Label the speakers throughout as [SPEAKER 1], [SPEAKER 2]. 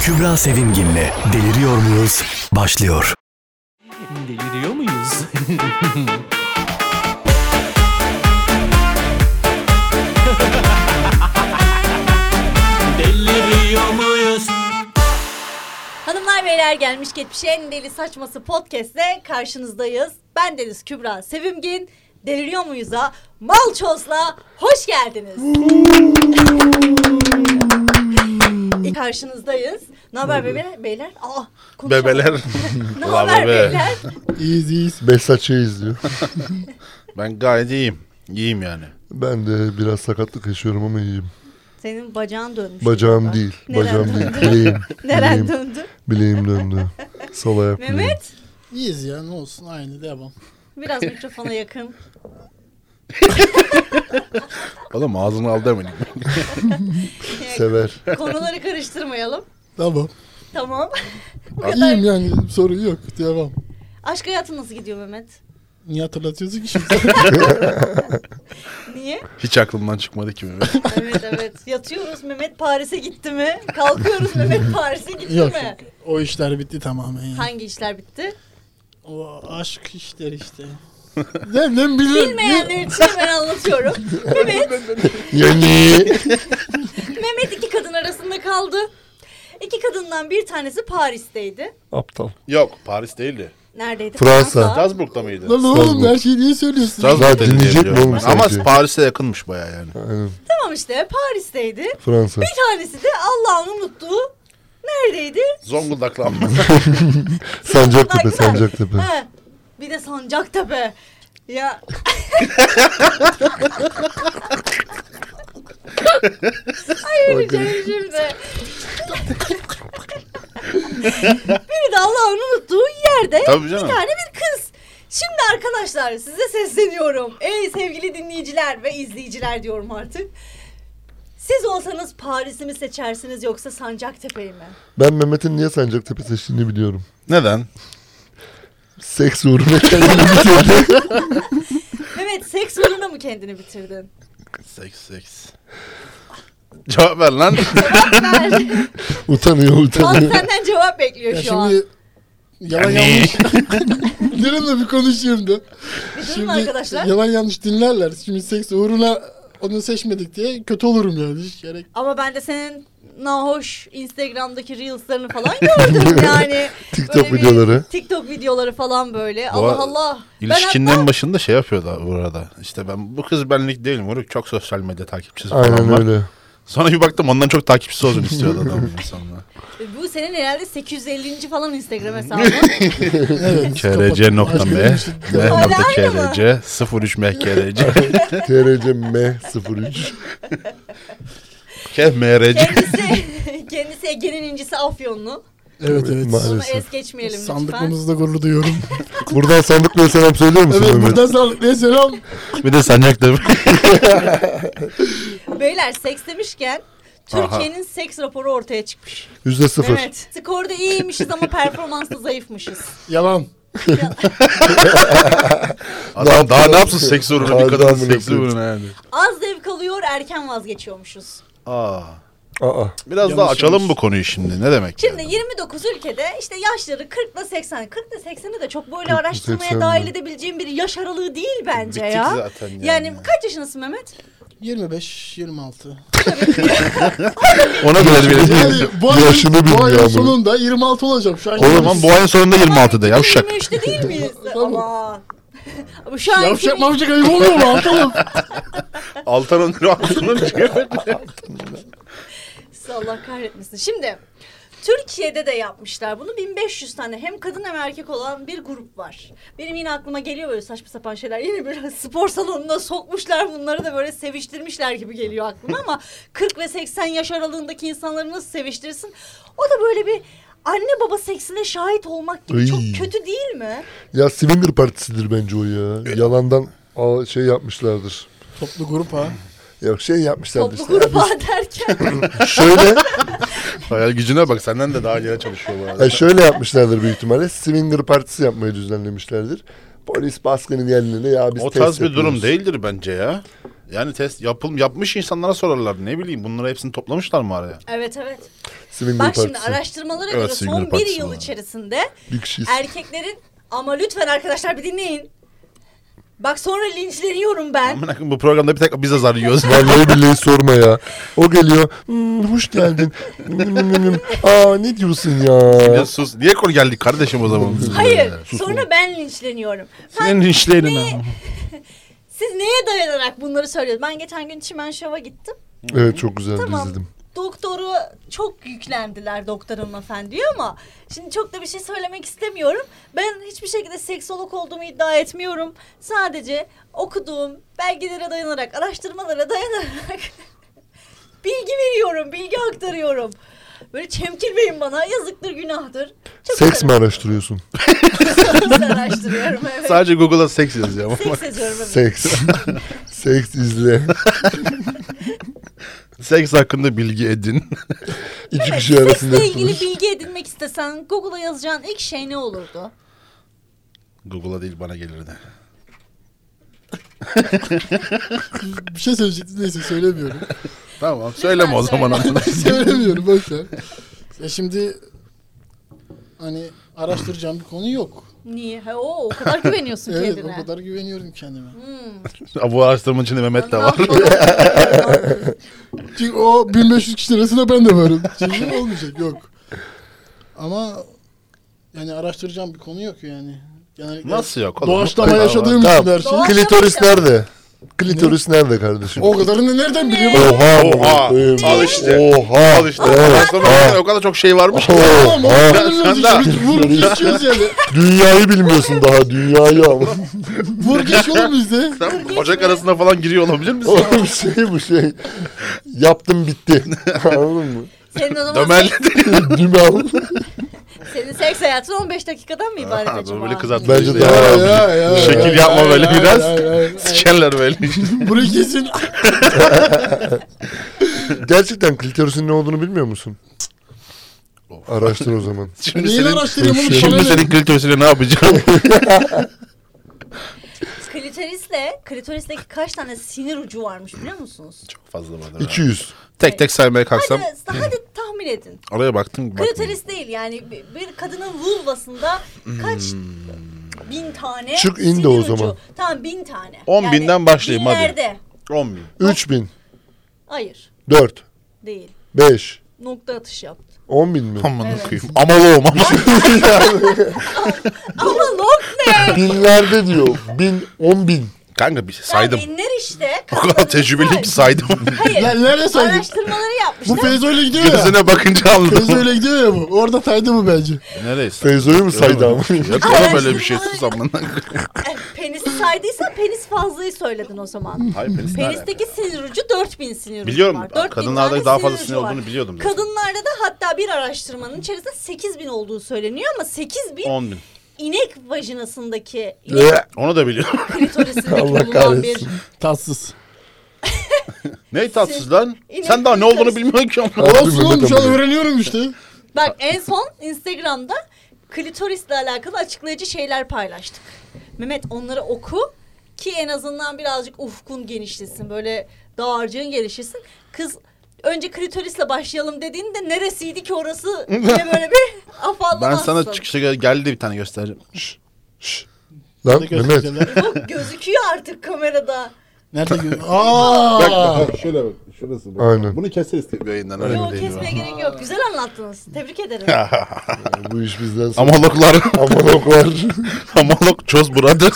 [SPEAKER 1] Kübra Sevimgin'le Deliriyor Muyuz? başlıyor.
[SPEAKER 2] Deliriyor muyuz? Deliriyor muyuz?
[SPEAKER 3] Hanımlar beyler gelmiş geçmiş en deli saçması podcast'le karşınızdayız. Ben Deniz Kübra Sevimgin. Deliriyor muyuz'a Malçoz'la hoş geldiniz. İyi karşınızdayız. Ne haber bebe- beyler? Aa, konuşamadım.
[SPEAKER 4] Bebeler.
[SPEAKER 3] Ne
[SPEAKER 4] Ulan
[SPEAKER 3] haber
[SPEAKER 4] bebe.
[SPEAKER 3] beyler?
[SPEAKER 5] İyiyiz iyiyiz. Beş saçı izliyor.
[SPEAKER 4] Ben gayet iyiyim. İyiyim yani.
[SPEAKER 5] Ben de biraz sakatlık yaşıyorum ama iyiyim.
[SPEAKER 3] Senin bacağın dönmüş.
[SPEAKER 5] Bacağım
[SPEAKER 3] galiba.
[SPEAKER 5] değil.
[SPEAKER 3] Neren
[SPEAKER 5] Bacağım
[SPEAKER 3] döndü?
[SPEAKER 5] değil. Bileğim.
[SPEAKER 3] Neren
[SPEAKER 5] Bileğim.
[SPEAKER 3] döndü?
[SPEAKER 5] Bileğim döndü. Sol ayak bileğim.
[SPEAKER 3] Mehmet
[SPEAKER 6] İyiyiz ya ne olsun aynı devam.
[SPEAKER 3] biraz mikrofona yakın.
[SPEAKER 4] Oğlum ağzını al demedik.
[SPEAKER 5] Sever.
[SPEAKER 3] Konuları karıştırmayalım.
[SPEAKER 6] Tamam.
[SPEAKER 3] Tamam. Bu
[SPEAKER 6] İyiyim
[SPEAKER 3] kadar.
[SPEAKER 6] yani sorun yok devam.
[SPEAKER 3] Aşk hayatın nasıl gidiyor Mehmet?
[SPEAKER 6] Niye hatırlatıyorsun ki şimdi?
[SPEAKER 3] Niye?
[SPEAKER 4] Hiç aklımdan çıkmadı ki. benim.
[SPEAKER 3] Evet evet. Yatıyoruz Mehmet Paris'e gitti mi? Kalkıyoruz Mehmet Paris'e gitti
[SPEAKER 6] yok
[SPEAKER 3] mi?
[SPEAKER 6] yok. O işler bitti tamamen yani.
[SPEAKER 3] Hangi işler bitti?
[SPEAKER 6] O aşk işleri işte. Dem dem bilir.
[SPEAKER 3] Bilmeyenler için ben anlatıyorum. Mehmet,
[SPEAKER 5] Yani.
[SPEAKER 3] Mehmet iki kadın arasında kaldı. İki kadından bir tanesi Paris'teydi.
[SPEAKER 5] Aptal.
[SPEAKER 4] Yok Paris değildi.
[SPEAKER 3] Neredeydi?
[SPEAKER 5] Fransa.
[SPEAKER 4] Strasbourg'da mıydı?
[SPEAKER 6] Lan oğlum her şeyi niye söylüyorsun?
[SPEAKER 4] Strasbourg'da
[SPEAKER 5] Zaten
[SPEAKER 4] diye
[SPEAKER 5] dinleyecek mi
[SPEAKER 4] biliyorum
[SPEAKER 5] oğlum
[SPEAKER 4] ben.
[SPEAKER 5] sen
[SPEAKER 4] Ama
[SPEAKER 5] şeyi?
[SPEAKER 4] Paris'e yakınmış baya yani.
[SPEAKER 5] Aynen.
[SPEAKER 3] Tamam işte Paris'teydi.
[SPEAKER 5] Fransa.
[SPEAKER 3] Bir tanesi de Allah'ın unuttuğu neredeydi?
[SPEAKER 4] Zonguldak'la ama.
[SPEAKER 3] Bak,
[SPEAKER 5] Sancaktepe.
[SPEAKER 3] bak.
[SPEAKER 5] Sancaktepe.
[SPEAKER 3] He. Bir de Sancaktepe. Ya Ayıracağım şimdi. Biri de Allah'ın unuttuğu yerde
[SPEAKER 4] Tabii
[SPEAKER 3] bir
[SPEAKER 4] canım.
[SPEAKER 3] tane bir kız. Şimdi arkadaşlar size sesleniyorum. Ey sevgili dinleyiciler ve izleyiciler diyorum artık. Siz olsanız Paris'i mi seçersiniz yoksa Sancaktepe'yi mi?
[SPEAKER 5] Ben Mehmet'in niye Sancaktepe seçtiğini biliyorum.
[SPEAKER 4] Neden?
[SPEAKER 5] Seks uğruna kendini bitirdi.
[SPEAKER 3] Mehmet seks uğruna mı kendini bitirdin?
[SPEAKER 4] Seks seks. Cevap ver lan.
[SPEAKER 3] Ver.
[SPEAKER 5] utanıyor
[SPEAKER 3] Halk
[SPEAKER 5] utanıyor.
[SPEAKER 3] senden cevap bekliyor
[SPEAKER 6] Ya
[SPEAKER 3] şu an.
[SPEAKER 6] şimdi yalan yanlış. Durun da bir
[SPEAKER 3] Bir
[SPEAKER 6] konuşayım da.
[SPEAKER 3] durun
[SPEAKER 6] Şimdi
[SPEAKER 3] arkadaşlar.
[SPEAKER 6] yalan yanlış dinlerler. Şimdi seks uğruna onu seçmedik diye kötü olurum yani. Hiç gerek.
[SPEAKER 3] Ama ben de senin nahoş Instagram'daki reelslerini falan gördüm yani.
[SPEAKER 5] TikTok
[SPEAKER 3] Böyle bir
[SPEAKER 5] videoları.
[SPEAKER 3] TikTok videoları falan böyle.
[SPEAKER 4] Bu
[SPEAKER 3] Allah
[SPEAKER 4] ar-
[SPEAKER 3] Allah. Ben
[SPEAKER 4] İlişkinin
[SPEAKER 3] hatta-
[SPEAKER 4] en başında şey yapıyordu burada. İşte ben bu kız benlik değilim. Moruk çok sosyal medya takipçisi falan
[SPEAKER 5] Aynen
[SPEAKER 4] var.
[SPEAKER 5] öyle.
[SPEAKER 4] Sonra bir baktım ondan çok takipçisi olsun istiyordu adam insanlar.
[SPEAKER 3] E, Bu senin herhalde 850. falan Instagram hesabın.
[SPEAKER 6] Evet.
[SPEAKER 4] KRC nokta
[SPEAKER 6] Aşkın
[SPEAKER 4] M.
[SPEAKER 6] ilişki-
[SPEAKER 4] M
[SPEAKER 3] Hala
[SPEAKER 4] nokta
[SPEAKER 3] aynı mı?
[SPEAKER 4] KRC 03 MKRC.
[SPEAKER 5] TRC M03.
[SPEAKER 4] Kev MRC.
[SPEAKER 3] kendisi, kendisi Ege'nin incisi Afyonlu.
[SPEAKER 6] Evet evet.
[SPEAKER 3] Bunu
[SPEAKER 5] Maalesef.
[SPEAKER 3] es geçmeyelim lütfen.
[SPEAKER 6] Sandıklarınızda gurur duyuyorum.
[SPEAKER 5] Buradan sandıklıya selam söylüyor musun
[SPEAKER 6] evet
[SPEAKER 5] Mehmet?
[SPEAKER 6] buradan sağlıklıya selam.
[SPEAKER 4] Bir de Sancaktepe.
[SPEAKER 3] Beyler seks demişken Türkiye'nin seks raporu ortaya çıkmış.
[SPEAKER 5] Yüzde sıfır.
[SPEAKER 3] Evet. Skorda iyiymişiz ama performansta zayıfmışız.
[SPEAKER 6] Yalan.
[SPEAKER 4] Adam daha ne yapsın seks uğruna bir
[SPEAKER 5] Adam
[SPEAKER 4] kadın
[SPEAKER 5] bunu
[SPEAKER 4] seks
[SPEAKER 5] yapıyor.
[SPEAKER 4] uğruna yani.
[SPEAKER 3] Az zevk alıyor erken vazgeçiyormuşuz.
[SPEAKER 4] Aa.
[SPEAKER 5] Aa.
[SPEAKER 4] Biraz daha
[SPEAKER 6] Yanlış
[SPEAKER 4] açalım
[SPEAKER 6] yanlış.
[SPEAKER 4] bu konuyu şimdi. Ne demek?
[SPEAKER 3] Şimdi
[SPEAKER 4] yani?
[SPEAKER 3] 29 ülkede işte yaşları 40 ile 80. 40 ile 80'i de çok böyle
[SPEAKER 5] 40 ile
[SPEAKER 3] araştırmaya
[SPEAKER 5] 80
[SPEAKER 3] dahil
[SPEAKER 5] mi?
[SPEAKER 3] edebileceğim bir yaş aralığı değil bence
[SPEAKER 4] Bittik
[SPEAKER 3] ya.
[SPEAKER 4] zaten yani.
[SPEAKER 3] kaç yaşındasın Mehmet?
[SPEAKER 6] 25 26.
[SPEAKER 4] Ona göre vereceğiz.
[SPEAKER 6] Yani bu ayın,
[SPEAKER 5] Yaşını
[SPEAKER 6] bu
[SPEAKER 5] bilmiyor
[SPEAKER 6] ayın
[SPEAKER 5] ama.
[SPEAKER 6] sonunda 26 olacağım şu an.
[SPEAKER 4] O zaman bu ayın sonunda 26'da yavşak.
[SPEAKER 3] 23'te değil miyiz?
[SPEAKER 6] Tamam.
[SPEAKER 3] Ama. Ama şu an
[SPEAKER 6] Yavşak mavşak ayıp olmuyor mu? Atalım.
[SPEAKER 4] Altan'ın rahatının
[SPEAKER 3] Siz Allah kahretmesin. Şimdi Türkiye'de de yapmışlar bunu. 1500 tane hem kadın hem erkek olan bir grup var. Benim yine aklıma geliyor böyle saçma sapan şeyler. Yine bir spor salonuna sokmuşlar bunları da böyle seviştirmişler gibi geliyor aklıma ama 40 ve 80 yaş aralığındaki insanları nasıl seviştirsin? O da böyle bir anne baba seksine şahit olmak gibi çok
[SPEAKER 5] Iy.
[SPEAKER 3] kötü değil mi?
[SPEAKER 5] Ya Swinger partisidir bence o ya. Yalandan a- şey yapmışlardır.
[SPEAKER 6] Toplu grup ha.
[SPEAKER 5] Yok şey yapmışlardır.
[SPEAKER 3] Toplu
[SPEAKER 5] işte.
[SPEAKER 3] gruba derken
[SPEAKER 5] Şöyle
[SPEAKER 4] Hayal gücüne bak senden de daha geri çalışıyor bu arada.
[SPEAKER 5] e, şöyle yapmışlardır büyük ihtimalle. Swinger partisi yapmayı düzenlemişlerdir. Polis baskının yerine ya biz
[SPEAKER 4] o
[SPEAKER 5] test
[SPEAKER 4] tarz bir
[SPEAKER 5] yapıyoruz.
[SPEAKER 4] durum değildir bence ya. Yani test yapıl yapmış insanlara sorarlar ne bileyim bunları hepsini toplamışlar mı araya?
[SPEAKER 3] Evet evet.
[SPEAKER 5] Swinger
[SPEAKER 3] Bak şimdi
[SPEAKER 5] partisi.
[SPEAKER 3] araştırmalara
[SPEAKER 4] Evet,
[SPEAKER 3] göre
[SPEAKER 4] Swinger
[SPEAKER 3] son bir
[SPEAKER 4] Partisi
[SPEAKER 3] yıl
[SPEAKER 4] var.
[SPEAKER 3] içerisinde
[SPEAKER 5] Bir kişiyiz.
[SPEAKER 3] erkeklerin ama lütfen arkadaşlar bir dinleyin. Bak sonra linçleniyorum ben.
[SPEAKER 4] Amına koyayım, bu programda bir tek biz azar yiyoruz.
[SPEAKER 5] Vallahi billahi sorma ya. O geliyor. "Hmm, hoş geldin. Hmm, hmm, hmm. Aa ne diyorsun ya?
[SPEAKER 4] ya sus. Niye konu geldik kardeşim o zaman?
[SPEAKER 3] Hayır. Sonra ben linçleniyorum.
[SPEAKER 4] Senin işlerine.
[SPEAKER 3] Siz neye dayanarak bunları söylüyorsunuz? Ben geçen gün Çimen Şov'a gittim.
[SPEAKER 5] Evet çok güzel
[SPEAKER 3] Tamam.
[SPEAKER 5] izledim.
[SPEAKER 3] Doktoru çok yüklendiler doktor hanımefendiye ama şimdi çok da bir şey söylemek istemiyorum. Ben hiçbir şekilde seksolog olduğumu iddia etmiyorum. Sadece okuduğum belgelere dayanarak, araştırmalara dayanarak bilgi veriyorum, bilgi aktarıyorum. Böyle çemkirmeyin bana. Yazıktır, günahtır. Çok
[SPEAKER 5] Seks mi araştırıyorsun?
[SPEAKER 3] araştırıyorum. araştırıyorum evet.
[SPEAKER 4] Sadece Google'a seks yazıyor. ama
[SPEAKER 3] Seks yazıyorum evet.
[SPEAKER 5] Seks. Seks izle.
[SPEAKER 4] seks hakkında bilgi edin.
[SPEAKER 5] İki
[SPEAKER 3] Evet,
[SPEAKER 5] kişi arasında
[SPEAKER 3] Seksle ilgili
[SPEAKER 5] yapılır.
[SPEAKER 3] bilgi edinmek istesen Google'a yazacağın ilk şey ne olurdu?
[SPEAKER 4] Google'a değil bana gelirdi.
[SPEAKER 6] Bir şey söyleyecektim neyse söylemiyorum.
[SPEAKER 4] Tamam söyleme o zaman amına.
[SPEAKER 6] söylemiyorum boş ver. Ya şimdi hani araştıracağım bir konu yok.
[SPEAKER 3] Niye? Ha, o, o kadar güveniyorsun
[SPEAKER 6] Evet
[SPEAKER 3] kendine.
[SPEAKER 6] o kadar güveniyorum kendime.
[SPEAKER 4] Bu araştırmanın içinde Mehmet de var.
[SPEAKER 6] Çünkü o 1500 kişi arasında ben de varım. Şimdi olmayacak yok. Ama yani araştıracağım bir konu yok yani. yani
[SPEAKER 4] Nasıl yok oğlum?
[SPEAKER 6] Doğaçlama yaşadığım için
[SPEAKER 5] Tamam.
[SPEAKER 6] her şey.
[SPEAKER 3] Doğaçlama ya.
[SPEAKER 5] Klitoris nerede? Klitoris nerede kardeşim?
[SPEAKER 6] O kadarını nereden biliyorum?
[SPEAKER 5] Oha.
[SPEAKER 4] Oha.
[SPEAKER 5] Evet.
[SPEAKER 4] Al işte.
[SPEAKER 5] Oha.
[SPEAKER 4] Al işte. Araştırmanın o kadar çok şey varmış ki.
[SPEAKER 6] Tamam o
[SPEAKER 5] Oha.
[SPEAKER 6] kadarını
[SPEAKER 4] Sen daha-
[SPEAKER 6] işte. Vur geçiyoruz yani.
[SPEAKER 5] Dünyayı bilmiyorsun daha. Dünyayı ama.
[SPEAKER 6] Vur geç oğlum bizde.
[SPEAKER 4] Sen Ocak arasına falan giriyor olabilir misin?
[SPEAKER 5] Oğlum şey bu şey. Yaptım bitti. Anladın mı?
[SPEAKER 3] Senin o zaman
[SPEAKER 4] Dömel.
[SPEAKER 5] Dümal.
[SPEAKER 3] senin seks hayatın 15 dakikadan mı ibaret acaba?
[SPEAKER 4] Böyle kızartma.
[SPEAKER 5] Bence
[SPEAKER 4] işte
[SPEAKER 5] daha-
[SPEAKER 4] ya.
[SPEAKER 6] ya, ya,
[SPEAKER 4] Şekil yapma
[SPEAKER 6] ya,
[SPEAKER 4] böyle
[SPEAKER 6] ya,
[SPEAKER 4] biraz.
[SPEAKER 6] ya, ya, ya.
[SPEAKER 4] Sikerler böyle.
[SPEAKER 6] Burayı kesin.
[SPEAKER 5] Gerçekten klitorisin ne olduğunu bilmiyor musun? Araştır o zaman.
[SPEAKER 4] Şimdi
[SPEAKER 6] Neyi
[SPEAKER 4] senin,
[SPEAKER 6] araştırıyorum oğlum?
[SPEAKER 4] şimdi
[SPEAKER 6] Bana ne?
[SPEAKER 4] senin klitorisine ne yapacağım?
[SPEAKER 3] Klitorisle, klitoristeki kaç tane sinir ucu varmış biliyor musunuz?
[SPEAKER 4] Çok fazla vardır. ha.
[SPEAKER 5] 200.
[SPEAKER 4] Tek tek saymaya kalksam
[SPEAKER 3] Hadi,
[SPEAKER 4] Hmm.
[SPEAKER 3] hadi tahmin edin.
[SPEAKER 4] araya baktım. bakmadım.
[SPEAKER 3] Klitoris değil yani bir- bir kadının vulvasında kaç
[SPEAKER 4] Hmm.
[SPEAKER 3] bin tane
[SPEAKER 5] Çık
[SPEAKER 3] sinir
[SPEAKER 5] indi o
[SPEAKER 3] ucu?
[SPEAKER 5] zaman.
[SPEAKER 3] Tamam bin tane.
[SPEAKER 4] On binden başlayayım, hadi.
[SPEAKER 3] binlerde.
[SPEAKER 4] 10 bin.
[SPEAKER 5] 3000.
[SPEAKER 3] Hayır
[SPEAKER 5] 4.
[SPEAKER 3] değil.
[SPEAKER 5] 5.
[SPEAKER 3] Nokta atış yaptı.
[SPEAKER 5] 10 bin mi?
[SPEAKER 4] Aman okuyayım. Amalı olmam.
[SPEAKER 3] Ama nokta.
[SPEAKER 5] Binlerde diyor. Bin, on bin.
[SPEAKER 4] Kanka bir şey
[SPEAKER 3] Saydım.
[SPEAKER 4] saydım.
[SPEAKER 3] Binler işte.
[SPEAKER 4] O kadar tecrübeliyim ki saydım.
[SPEAKER 3] Hayır.
[SPEAKER 6] Lan nerede saydın?
[SPEAKER 3] Araştırmaları
[SPEAKER 6] Bu
[SPEAKER 3] yapmışlar.
[SPEAKER 6] Feyzo ile gidiyor ya.
[SPEAKER 4] Gözüne bakınca
[SPEAKER 6] Feyzo
[SPEAKER 4] anladım.
[SPEAKER 6] ile gidiyor ya bu. Orada saydı bu bence.
[SPEAKER 4] Neredeyiz?
[SPEAKER 5] Feyzo'yu mu saydı ama?
[SPEAKER 4] Yok oğlum öyle bir şey sus amına.
[SPEAKER 3] E, penisi saydıysan penis fazlayı söyledin o zaman.
[SPEAKER 4] Hayır penis nerede?
[SPEAKER 3] Penisteki sinir ucu 4000 sinir ucu
[SPEAKER 4] Biliyorum.
[SPEAKER 3] var. 4000
[SPEAKER 4] Kadınlarda
[SPEAKER 3] tane
[SPEAKER 4] daha fazla
[SPEAKER 3] ucu
[SPEAKER 4] sinir
[SPEAKER 3] var.
[SPEAKER 4] olduğunu biliyordum zaten.
[SPEAKER 3] Kadınlarda da hatta bir araştırmanın içerisinde 8000 olduğu söyleniyor ama 8000
[SPEAKER 4] 10 bin.
[SPEAKER 3] inek vajinasındaki inek
[SPEAKER 5] Ee,
[SPEAKER 4] Onu da biliyorum.
[SPEAKER 3] klitorisindeki
[SPEAKER 5] Allah
[SPEAKER 3] bulunan
[SPEAKER 5] kahretsin.
[SPEAKER 3] bir
[SPEAKER 6] Tatsız.
[SPEAKER 4] ne tatsız lan?
[SPEAKER 3] İnek-
[SPEAKER 4] Sen daha ne olduğunu
[SPEAKER 3] karıştı.
[SPEAKER 4] bilmiyorsun ki amına.
[SPEAKER 6] Olsun
[SPEAKER 5] Mehmet
[SPEAKER 6] oğlum şu an
[SPEAKER 5] amca.
[SPEAKER 6] öğreniyorum işte.
[SPEAKER 3] Bak en son Instagram'da klitorisle alakalı açıklayıcı şeyler paylaştık. Mehmet onları oku ki en azından birazcık ufkun genişlesin. Böyle dağarcığın gelişsin. Kız önce klitorisle başlayalım dediğinde neresiydi ki orası diye böyle bir afallamazsın.
[SPEAKER 4] Ben sana çıkışa gel- geldi bir tane göstereceğim.
[SPEAKER 5] Lan
[SPEAKER 6] Nerede
[SPEAKER 5] Mehmet.
[SPEAKER 6] gözüküyor? lan?
[SPEAKER 3] Yok, gözüküyor artık kamerada.
[SPEAKER 6] Nerede gözüküyor? Aaa.
[SPEAKER 7] Şöyle bak şurası. Bak.
[SPEAKER 5] Aynen.
[SPEAKER 7] Bunu keseriz tabii.
[SPEAKER 4] Yayından
[SPEAKER 3] Yok
[SPEAKER 4] öyle bir
[SPEAKER 3] kesmeye gerek yok. Güzel anlattınız. Tebrik ederim.
[SPEAKER 5] Bu iş bizden sonra.
[SPEAKER 4] Amaloklar.
[SPEAKER 5] Amaloklar.
[SPEAKER 4] Amalok çöz buradır.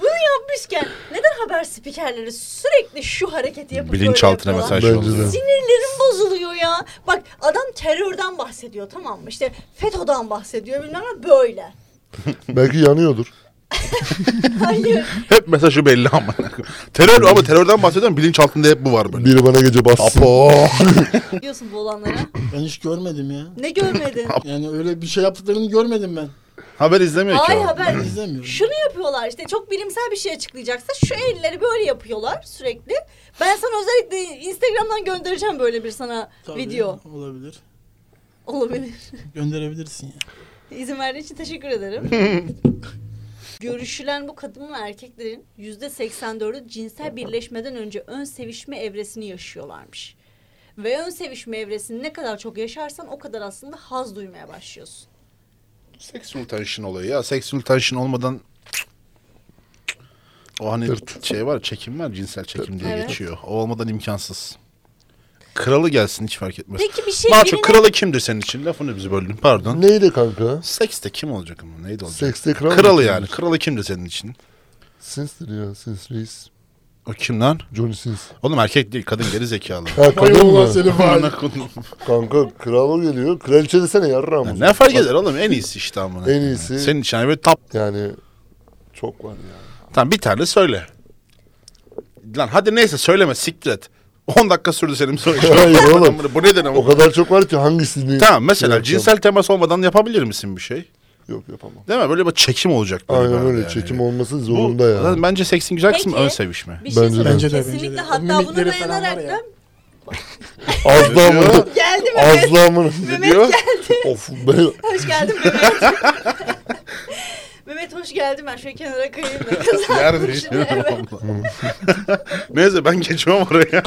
[SPEAKER 3] Bunu yapmışken neden haber spikerleri sürekli şu hareketi yapıp böyle
[SPEAKER 4] Bilinçaltına
[SPEAKER 3] yapıyorlar?
[SPEAKER 4] mesaj
[SPEAKER 5] Bence
[SPEAKER 4] yolluyor.
[SPEAKER 5] de.
[SPEAKER 3] Sinirlerim bozuluyor ya. Bak adam terörden bahsediyor tamam mı? İşte FETÖ'den bahsediyor bilmem ne böyle.
[SPEAKER 5] Belki yanıyordur.
[SPEAKER 3] Hayır.
[SPEAKER 4] Hep mesajı belli ama. Terör ama terörden bahsediyorum bilinç altında hep bu var böyle.
[SPEAKER 5] Biri bana gece bassın.
[SPEAKER 4] Apo.
[SPEAKER 3] Diyorsun bu olanlara.
[SPEAKER 6] Ben hiç görmedim ya.
[SPEAKER 3] Ne görmedin?
[SPEAKER 6] Yani öyle bir şey yaptıklarını görmedim ben.
[SPEAKER 4] Haber izlemiyor ki.
[SPEAKER 3] Ay
[SPEAKER 4] o.
[SPEAKER 3] haber.
[SPEAKER 6] İzlemiyorum.
[SPEAKER 3] Şunu yapıyorlar işte çok bilimsel bir şey açıklayacaksa şu elleri böyle yapıyorlar sürekli. Ben sana özellikle Instagram'dan göndereceğim böyle bir sana
[SPEAKER 6] Tabii,
[SPEAKER 3] video.
[SPEAKER 6] Olabilir.
[SPEAKER 3] Olabilir.
[SPEAKER 6] Gönderebilirsin ya.
[SPEAKER 3] İzin verdiğin için teşekkür ederim. Görüşülen bu kadın ve erkeklerin yüzde 84'ü cinsel birleşmeden önce ön sevişme evresini yaşıyorlarmış. Ve ön sevişme evresini ne kadar çok yaşarsan o kadar aslında haz duymaya başlıyorsun.
[SPEAKER 4] Sexual tension olayı ya. Sexual tension olmadan o hani
[SPEAKER 5] Tırt.
[SPEAKER 4] şey var çekim var cinsel çekim diye
[SPEAKER 3] Evet.
[SPEAKER 4] geçiyor. O olmadan imkansız. Kralı gelsin hiç fark etmez.
[SPEAKER 3] Peki bir şey
[SPEAKER 4] Maço
[SPEAKER 3] birine-
[SPEAKER 4] kralı kimdir senin için? Lafını bizi böldüm pardon.
[SPEAKER 5] Neydi kanka?
[SPEAKER 4] Seks de kim olacak ama neydi olacak?
[SPEAKER 5] Sekste kral
[SPEAKER 4] kralı
[SPEAKER 5] mı?
[SPEAKER 4] yani. Kralı kimdir senin için?
[SPEAKER 5] Sins'tir ya. Sins reis.
[SPEAKER 4] O kim lan?
[SPEAKER 5] Johnny Sins.
[SPEAKER 4] Oğlum erkek değil kadın geri zekalı.
[SPEAKER 5] Ha kadın
[SPEAKER 6] Hayrola
[SPEAKER 5] mı?
[SPEAKER 6] seni
[SPEAKER 4] Amına
[SPEAKER 6] bari.
[SPEAKER 4] koyayım.
[SPEAKER 5] Kanka kral o geliyor. Kraliçe desene yarram.
[SPEAKER 4] Ya ne fark eder oğlum en iyisi işte amına. koyayım.
[SPEAKER 5] iyisi.
[SPEAKER 4] Senin için hani böyle top.
[SPEAKER 5] Yani çok var ya.
[SPEAKER 4] Tamam bir tane söyle. Lan hadi neyse söyleme siktir et. 10 dakika sürdü senin söyle.
[SPEAKER 5] Hayır oğlum.
[SPEAKER 4] Bu neden ama?
[SPEAKER 5] O kadar çok var ki hangisini... şey
[SPEAKER 4] Tamam mesela
[SPEAKER 5] Yapacağım.
[SPEAKER 4] cinsel temas olmadan yapabilir misin bir şey?
[SPEAKER 5] Yok yapamam.
[SPEAKER 4] Değil mi? Böyle bir çekim olacak. böyle
[SPEAKER 5] Aynen
[SPEAKER 4] bence
[SPEAKER 5] öyle.
[SPEAKER 4] yani.
[SPEAKER 5] Çekim olması
[SPEAKER 4] Bu-
[SPEAKER 5] zorunda ya.
[SPEAKER 4] zaten Bence seksin güzel kısmı
[SPEAKER 3] Peki.
[SPEAKER 4] ön sevişme.
[SPEAKER 3] Bir şey
[SPEAKER 5] Bence de.
[SPEAKER 3] söyleyeyim.
[SPEAKER 6] Bence de, bence de.
[SPEAKER 3] Kesinlikle
[SPEAKER 6] O
[SPEAKER 3] hatta buna
[SPEAKER 6] mimikleri falan var
[SPEAKER 3] dayanarak
[SPEAKER 6] ya.
[SPEAKER 3] da
[SPEAKER 5] Az daha mı?
[SPEAKER 3] geldi mi?
[SPEAKER 5] Az daha mı?
[SPEAKER 3] Mehmet geldi.
[SPEAKER 5] Of ben...
[SPEAKER 3] Hoş geldin Mehmet. Mehmet hoş geldin. Ben şöyle kenara kayayım da kızardım
[SPEAKER 4] Yer
[SPEAKER 3] şimdi.
[SPEAKER 4] değişiyor.
[SPEAKER 3] Evet.
[SPEAKER 4] Neyse ben geçiyorum oraya.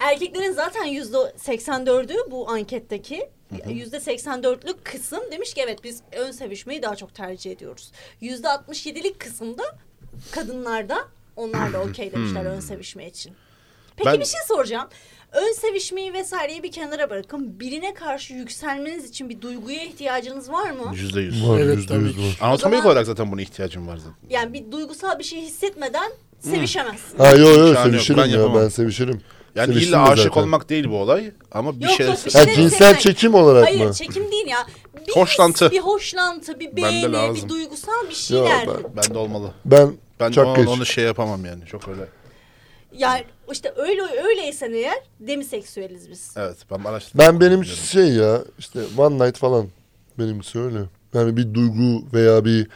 [SPEAKER 3] Erkeklerin zaten yüzde 84'ü bu anketteki yüzde 84'lük kısım demiş ki evet biz ön sevişmeyi daha çok tercih ediyoruz. Yüzde 67'lik kısımda kadınlarda onlar da okey demişler ön sevişme için. Peki
[SPEAKER 4] Hmm. Ben-
[SPEAKER 3] bir şey soracağım. Ön sevişmeyi vesaireyi bir kenara bırakın. Birine karşı yükselmeniz için bir duyguya ihtiyacınız var mı?
[SPEAKER 4] Yüzde yüz.
[SPEAKER 5] Var
[SPEAKER 6] Evet,
[SPEAKER 5] yüzde
[SPEAKER 6] tabii
[SPEAKER 5] yüz
[SPEAKER 6] ki.
[SPEAKER 5] var.
[SPEAKER 4] Anatomik
[SPEAKER 3] zaman-
[SPEAKER 4] olarak zaten buna ihtiyacım var zaten.
[SPEAKER 3] Yani bir duygusal bir şey hissetmeden
[SPEAKER 4] Hmm.
[SPEAKER 3] sevişemezsin.
[SPEAKER 5] Ha yo yo
[SPEAKER 4] Şahane yok,
[SPEAKER 5] sevişirim
[SPEAKER 4] ben
[SPEAKER 5] ya
[SPEAKER 4] yapamam.
[SPEAKER 5] ben sevişirim.
[SPEAKER 4] Yani
[SPEAKER 5] Seviştim
[SPEAKER 4] illa
[SPEAKER 5] de
[SPEAKER 4] aşık
[SPEAKER 5] zaten.
[SPEAKER 4] olmak değil bu olay. Ama bir
[SPEAKER 3] Yok,
[SPEAKER 4] şey...
[SPEAKER 3] yok, bir şey-
[SPEAKER 5] Ha
[SPEAKER 3] Sevişmek-
[SPEAKER 5] cinsel çekim olarak
[SPEAKER 3] Hayır
[SPEAKER 5] mı?
[SPEAKER 3] çekim değil ya. Bir
[SPEAKER 4] Hoşlantı.
[SPEAKER 3] his, bir hoşlantı, bir beğeni, bir
[SPEAKER 4] lazım.
[SPEAKER 3] duygusal bir
[SPEAKER 5] Yo,
[SPEAKER 3] şeyler.
[SPEAKER 5] ben,
[SPEAKER 4] Bende olmalı.
[SPEAKER 5] ben,
[SPEAKER 4] Ben
[SPEAKER 5] çok
[SPEAKER 4] onu,
[SPEAKER 5] geç.
[SPEAKER 4] onu şey yapamam yani. Çok öyle.
[SPEAKER 3] Yani işte öyle öyleysen eğer demiseksüeliz biz.
[SPEAKER 4] Evet ben araştırdım.
[SPEAKER 5] Ben benim şey ya işte one night falan benim öyle. Yani bir duygu veya bir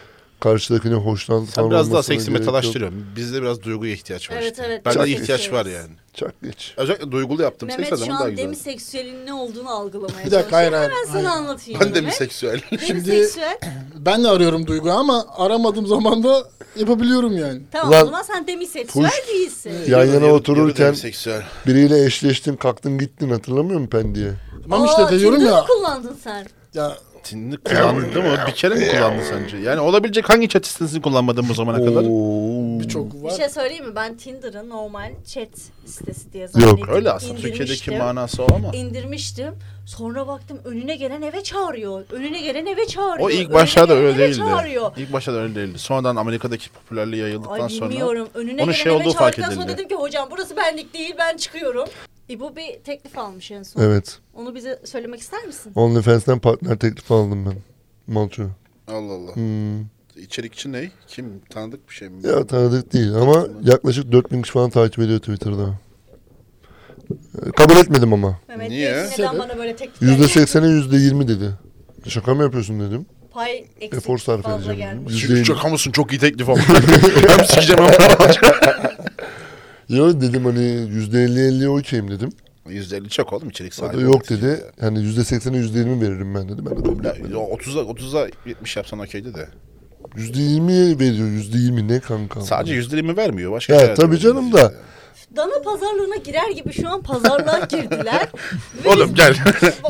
[SPEAKER 5] karşıdakine hoşlantı
[SPEAKER 4] Sen
[SPEAKER 5] falan
[SPEAKER 4] biraz daha
[SPEAKER 5] olmasına
[SPEAKER 4] seksi
[SPEAKER 5] gerek yok.
[SPEAKER 4] metalaştırıyorsun. Bizde biraz duyguya ihtiyaç var
[SPEAKER 3] Evet,
[SPEAKER 4] işte.
[SPEAKER 3] evet,
[SPEAKER 4] Bende
[SPEAKER 3] çok
[SPEAKER 4] de ihtiyaç var
[SPEAKER 3] seçiyoruz.
[SPEAKER 4] yani.
[SPEAKER 5] Çok geç.
[SPEAKER 4] Özellikle duygulu yaptım.
[SPEAKER 3] Mehmet
[SPEAKER 4] Seks
[SPEAKER 3] şu
[SPEAKER 4] adamı daha
[SPEAKER 3] an
[SPEAKER 4] güzel.
[SPEAKER 3] demiseksüelin ne olduğunu algılamaya
[SPEAKER 6] Bir dakika,
[SPEAKER 3] çalışıyor.
[SPEAKER 6] hayır, hayır,
[SPEAKER 3] Hemen sana
[SPEAKER 6] hayır.
[SPEAKER 3] anlatayım.
[SPEAKER 4] Ben de mi
[SPEAKER 3] Mehmet.
[SPEAKER 4] seksüel?
[SPEAKER 3] Demiseksüel.
[SPEAKER 6] Ben de arıyorum duygu ama aramadığım zaman da yapabiliyorum yani.
[SPEAKER 3] Tamam
[SPEAKER 5] Ulan,
[SPEAKER 3] o zaman sen demiseksüel
[SPEAKER 5] fuş.
[SPEAKER 3] değilsin.
[SPEAKER 5] Yan yana otururken
[SPEAKER 4] Seksüel.
[SPEAKER 5] biriyle eşleştin kalktın gittin hatırlamıyor musun pendiye?
[SPEAKER 6] Tamam
[SPEAKER 3] Oo,
[SPEAKER 6] işte de diyorum
[SPEAKER 3] Tinder
[SPEAKER 6] ya.
[SPEAKER 3] kullandın sen.
[SPEAKER 6] Ya
[SPEAKER 4] Tinini kullandı mı? Bir kere mi kullandı sence? Yani olabilecek hangi chat sitesini kullanmadın bu zamana kadar?
[SPEAKER 5] Oo.
[SPEAKER 6] çok
[SPEAKER 3] Bir
[SPEAKER 6] var.
[SPEAKER 3] şey söyleyeyim mi? Ben Tinder'ı normal chat sitesi diye zannettim.
[SPEAKER 5] Yok.
[SPEAKER 4] Öyle aslında.
[SPEAKER 3] İndirmiştim.
[SPEAKER 4] Türkiye'deki manası o ama.
[SPEAKER 3] indirmiştim. Sonra baktım önüne gelen eve çağırıyor. Önüne gelen eve çağırıyor.
[SPEAKER 4] O ilk
[SPEAKER 3] önüne
[SPEAKER 4] başta da
[SPEAKER 3] gelen
[SPEAKER 4] öyle
[SPEAKER 3] eve
[SPEAKER 4] değildi.
[SPEAKER 3] Çağırıyor.
[SPEAKER 4] İlk başta da öyle değildi. Sonradan Amerika'daki popülerliği yayıldıktan
[SPEAKER 3] Ay
[SPEAKER 4] sonra
[SPEAKER 3] bilmiyorum. Önüne
[SPEAKER 4] onun
[SPEAKER 3] gelen
[SPEAKER 4] şey
[SPEAKER 3] eve
[SPEAKER 4] olduğu fark
[SPEAKER 3] çağırdıktan sonra
[SPEAKER 4] edildi.
[SPEAKER 3] dedim ki hocam burası benlik değil ben çıkıyorum. İbo bir teklif almış en son.
[SPEAKER 5] Evet.
[SPEAKER 3] Onu bize söylemek ister misin?
[SPEAKER 5] OnlyFans'ten partner teklifi aldım ben. Malço.
[SPEAKER 4] Allah Allah.
[SPEAKER 5] Hmm.
[SPEAKER 4] İçerikçi ne? Kim? Tanıdık bir şey mi?
[SPEAKER 5] Ya tanıdık değil ama yaklaşık 4000 kişi falan takip ediyor Twitter'da. Ee, Kabul etmedim ama.
[SPEAKER 3] Mehmet
[SPEAKER 4] Niye?
[SPEAKER 3] Bey, neden
[SPEAKER 6] Sebep?
[SPEAKER 3] bana böyle teklif
[SPEAKER 5] %80'e %20 dedi. Şaka mı yapıyorsun dedim.
[SPEAKER 3] Pay eksik
[SPEAKER 5] Efor sarf
[SPEAKER 3] fazla
[SPEAKER 5] edeceğim.
[SPEAKER 3] gelmiş.
[SPEAKER 5] Yüzde elli.
[SPEAKER 4] mısın? Çok iyi teklif ama. hem sikeceğim hem
[SPEAKER 5] Yo dedim hani yüzde elli elli okeyim dedim.
[SPEAKER 4] %50 çok oğlum içerik
[SPEAKER 5] O da
[SPEAKER 4] sahibi.
[SPEAKER 5] yok
[SPEAKER 4] olmak
[SPEAKER 5] dedi. Yani yüzde seksene yüzde yirmi veririm ben dedi. Ben de kabul
[SPEAKER 4] için. Ya,
[SPEAKER 5] etmedim.
[SPEAKER 4] 30'a 30'a 70 yapsan okeydi de.
[SPEAKER 5] Yüzde yirmi veriyor. Yüzde yirmi ne kanka?
[SPEAKER 4] Sadece %20 vermiyor. Başka
[SPEAKER 5] Ya
[SPEAKER 4] şeyler de
[SPEAKER 5] tabii
[SPEAKER 4] veriyor.
[SPEAKER 5] canım da.
[SPEAKER 3] Dana pazarlığına girer gibi şu an pazarlığa girdiler. Ve
[SPEAKER 4] Oğlum
[SPEAKER 3] biz-
[SPEAKER 4] gel.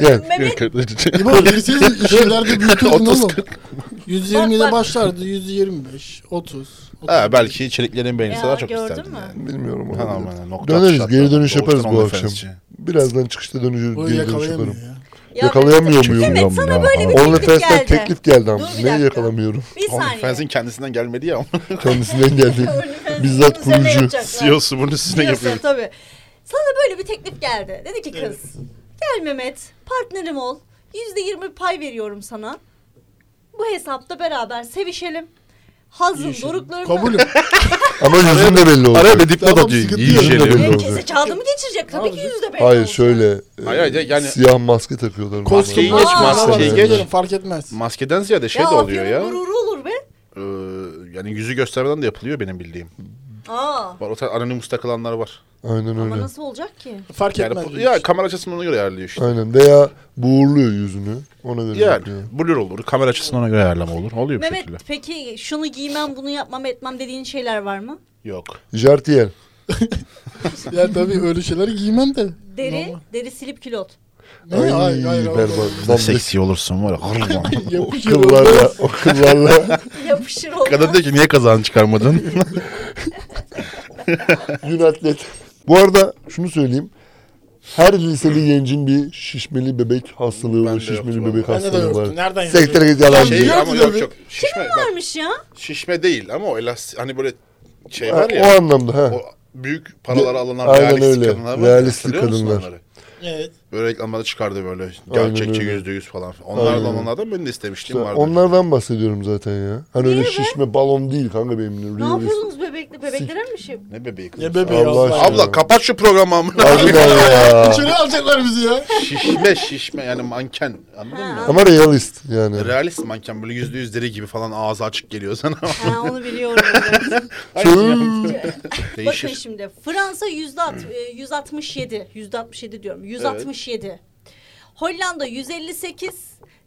[SPEAKER 5] Gel.
[SPEAKER 3] Mehmet
[SPEAKER 6] İbo bilseydin işlerde büyütürdün
[SPEAKER 4] Otuz
[SPEAKER 6] oğlum. 120
[SPEAKER 3] Bak, bak.
[SPEAKER 6] ile başlardı. 125, 30.
[SPEAKER 4] ha, belki içeriklerin beğenisi
[SPEAKER 3] Ya,
[SPEAKER 4] daha çok
[SPEAKER 3] gördün
[SPEAKER 4] isterdim.
[SPEAKER 3] mü?
[SPEAKER 4] Yani.
[SPEAKER 5] Bilmiyorum.
[SPEAKER 4] Ha,
[SPEAKER 5] olabilir.
[SPEAKER 4] aman, nokta
[SPEAKER 5] Döneriz.
[SPEAKER 4] atışlar
[SPEAKER 5] Geri
[SPEAKER 4] zaten.
[SPEAKER 5] dönüş yaparız bu
[SPEAKER 4] Doğuştan
[SPEAKER 5] akşam.
[SPEAKER 4] OnlyFans'çi.
[SPEAKER 5] Birazdan çıkışta dönüş,
[SPEAKER 6] Bunu
[SPEAKER 5] geri dönüş
[SPEAKER 6] yakalayamıyor
[SPEAKER 5] yaparım.
[SPEAKER 6] ya.
[SPEAKER 3] Ya
[SPEAKER 5] Yakalayamıyor muyum
[SPEAKER 3] Mehmet,
[SPEAKER 5] ya?
[SPEAKER 3] sana böyle bir teklif
[SPEAKER 5] OnlyFans'ten
[SPEAKER 3] geldi.
[SPEAKER 5] teklif geldi ama
[SPEAKER 3] Dur bir
[SPEAKER 5] neyi
[SPEAKER 3] dakika.
[SPEAKER 5] yakalamıyorum?
[SPEAKER 3] Bir saniye.
[SPEAKER 4] OnlyFans'in kendisinden gelmedi ya.
[SPEAKER 5] Kendisinden geldi.
[SPEAKER 3] OnlyFans'in
[SPEAKER 5] Bizzat
[SPEAKER 3] üzerine
[SPEAKER 5] kurucu.
[SPEAKER 3] yapacaklar.
[SPEAKER 4] CEO'su bunu sizinle
[SPEAKER 3] Biliyorsun,
[SPEAKER 4] yapıyor.
[SPEAKER 3] tabii. Sana böyle bir teklif geldi. Dedi ki kız gel Mehmet partnerim ol. Yüzde yirmi pay veriyorum sana. Bu hesapta beraber sevişelim. Hazın doruklarını...
[SPEAKER 6] Kabulüm.
[SPEAKER 5] Ama yüzün de belli olacak.
[SPEAKER 4] bir dipnot
[SPEAKER 5] Tamam,
[SPEAKER 4] atıyor.
[SPEAKER 5] sıkıntı yok.
[SPEAKER 4] Yiyeceğim.
[SPEAKER 5] Yüzün de belli
[SPEAKER 3] Herkese
[SPEAKER 5] olacak.
[SPEAKER 3] kağıdı mı geçirecek? Tabii ki
[SPEAKER 6] yapacağız?
[SPEAKER 3] yüzde belli
[SPEAKER 5] Hayır
[SPEAKER 3] olacak.
[SPEAKER 5] şöyle. e,
[SPEAKER 4] Hayır, hayır, yani-
[SPEAKER 5] Siyah maske takıyorlar.
[SPEAKER 6] Kostüm
[SPEAKER 4] Maskeyi
[SPEAKER 6] var,
[SPEAKER 4] geç,
[SPEAKER 6] var,
[SPEAKER 4] maskeyi
[SPEAKER 6] var,
[SPEAKER 4] Şey geç.
[SPEAKER 6] bilirim, Fark etmez.
[SPEAKER 4] Maskeden ziyade şey
[SPEAKER 3] ya
[SPEAKER 4] de oluyor
[SPEAKER 3] afyonun
[SPEAKER 4] ya.
[SPEAKER 3] gururu olur be.
[SPEAKER 4] Ee, yani yüzü göstermeden de yapılıyor benim bildiğim.
[SPEAKER 3] Aa.
[SPEAKER 4] Var o tarz anonimus takılanlar var.
[SPEAKER 5] Aynen öyle.
[SPEAKER 3] Ama nasıl olacak ki?
[SPEAKER 6] Fark
[SPEAKER 4] Yani
[SPEAKER 6] etmez.
[SPEAKER 4] bu-
[SPEAKER 6] diyor.
[SPEAKER 4] ya kamera açısını ona göre ayarlıyor işte.
[SPEAKER 5] Aynen veya buğurluyor yüzünü. Ona göre
[SPEAKER 4] Yani
[SPEAKER 5] yapıyor.
[SPEAKER 4] blur olur. Kamera açısını ona göre ayarlama olur. Oluyor bir
[SPEAKER 3] Mehmet
[SPEAKER 4] şekilde.
[SPEAKER 3] peki şunu giymem bunu yapmam etmem dediğin şeyler var mı?
[SPEAKER 4] Yok.
[SPEAKER 5] Jartiyer.
[SPEAKER 6] Ya tabii öyle şeyleri giymem de.
[SPEAKER 3] Deri,
[SPEAKER 6] Normal.
[SPEAKER 3] deri silip külot.
[SPEAKER 6] Ne? Hayır, hayır, hayır.
[SPEAKER 5] berbat.
[SPEAKER 4] Ne
[SPEAKER 5] Lan
[SPEAKER 4] seksi olursun var ya.
[SPEAKER 5] o
[SPEAKER 6] Yapışıyor.
[SPEAKER 5] kıllarla, o kıllarla
[SPEAKER 3] Yapışır olmaz.
[SPEAKER 4] Kadın diyor ki niye kazan çıkarmadın?
[SPEAKER 5] Şey gün atlet. Bu arada şunu söyleyeyim. Her liseli gencin bir şişmeli bebek hastalığı
[SPEAKER 4] Bende
[SPEAKER 5] var.
[SPEAKER 4] yoktu
[SPEAKER 5] Şişmeli
[SPEAKER 4] vallahi.
[SPEAKER 5] bebek
[SPEAKER 6] Bende de
[SPEAKER 5] hastalığı
[SPEAKER 6] yoktu.
[SPEAKER 5] var.
[SPEAKER 6] Nereden
[SPEAKER 5] Sektere git yalan.
[SPEAKER 6] Şey,
[SPEAKER 5] diyor.
[SPEAKER 6] Biliyor musun abi?
[SPEAKER 4] Şişme, bak,
[SPEAKER 3] Varmış ya.
[SPEAKER 4] şişme değil ama o elastik hani böyle şey
[SPEAKER 5] Ha,
[SPEAKER 4] var ya.
[SPEAKER 5] o anlamda ha.
[SPEAKER 4] o büyük paralara alınan
[SPEAKER 5] Aynen
[SPEAKER 4] realistik
[SPEAKER 5] öyle.
[SPEAKER 4] kadınlar var. ya,
[SPEAKER 5] Realistik
[SPEAKER 4] hatırlıyor musun
[SPEAKER 5] kadınlar.
[SPEAKER 4] onları?
[SPEAKER 6] Evet.
[SPEAKER 4] Böyle reklamlarda çıkardı böyle.
[SPEAKER 5] Aynen
[SPEAKER 4] Gerçekçi
[SPEAKER 5] öyle.
[SPEAKER 4] yüzde yüz falan. Onlardan
[SPEAKER 5] Aynen.
[SPEAKER 4] onlardan ben de istemiştim
[SPEAKER 5] İşte
[SPEAKER 4] vardı.
[SPEAKER 5] onlardan bahsediyorum zaten ya. Hani öyle
[SPEAKER 3] Niye be?
[SPEAKER 5] şişme balon değil kanka benim.
[SPEAKER 3] Ne
[SPEAKER 5] Realist.
[SPEAKER 3] yapıyorsunuz bebekle? Bebeklere mi bir şey?
[SPEAKER 4] Ne bebeği kız?
[SPEAKER 6] Ne bebeği
[SPEAKER 5] Allah
[SPEAKER 6] Allah
[SPEAKER 5] aşkına.
[SPEAKER 6] aşkına.
[SPEAKER 4] Abla kapat şu programı amına.
[SPEAKER 5] Harbiden ya.
[SPEAKER 6] İçeri alacaklar bizi ya.
[SPEAKER 4] şişme şişme yani manken. Anladın mı?
[SPEAKER 5] Ama realist yani.
[SPEAKER 4] Realist manken böyle yüzde yüz deri gibi falan ağzı açık geliyor sana.
[SPEAKER 3] Ha, onu biliyorum. Bakın
[SPEAKER 4] Değişir.
[SPEAKER 3] şimdi Fransa yüzde alt- e, 167, yüzde 67 diyorum, 167. Hollanda 158,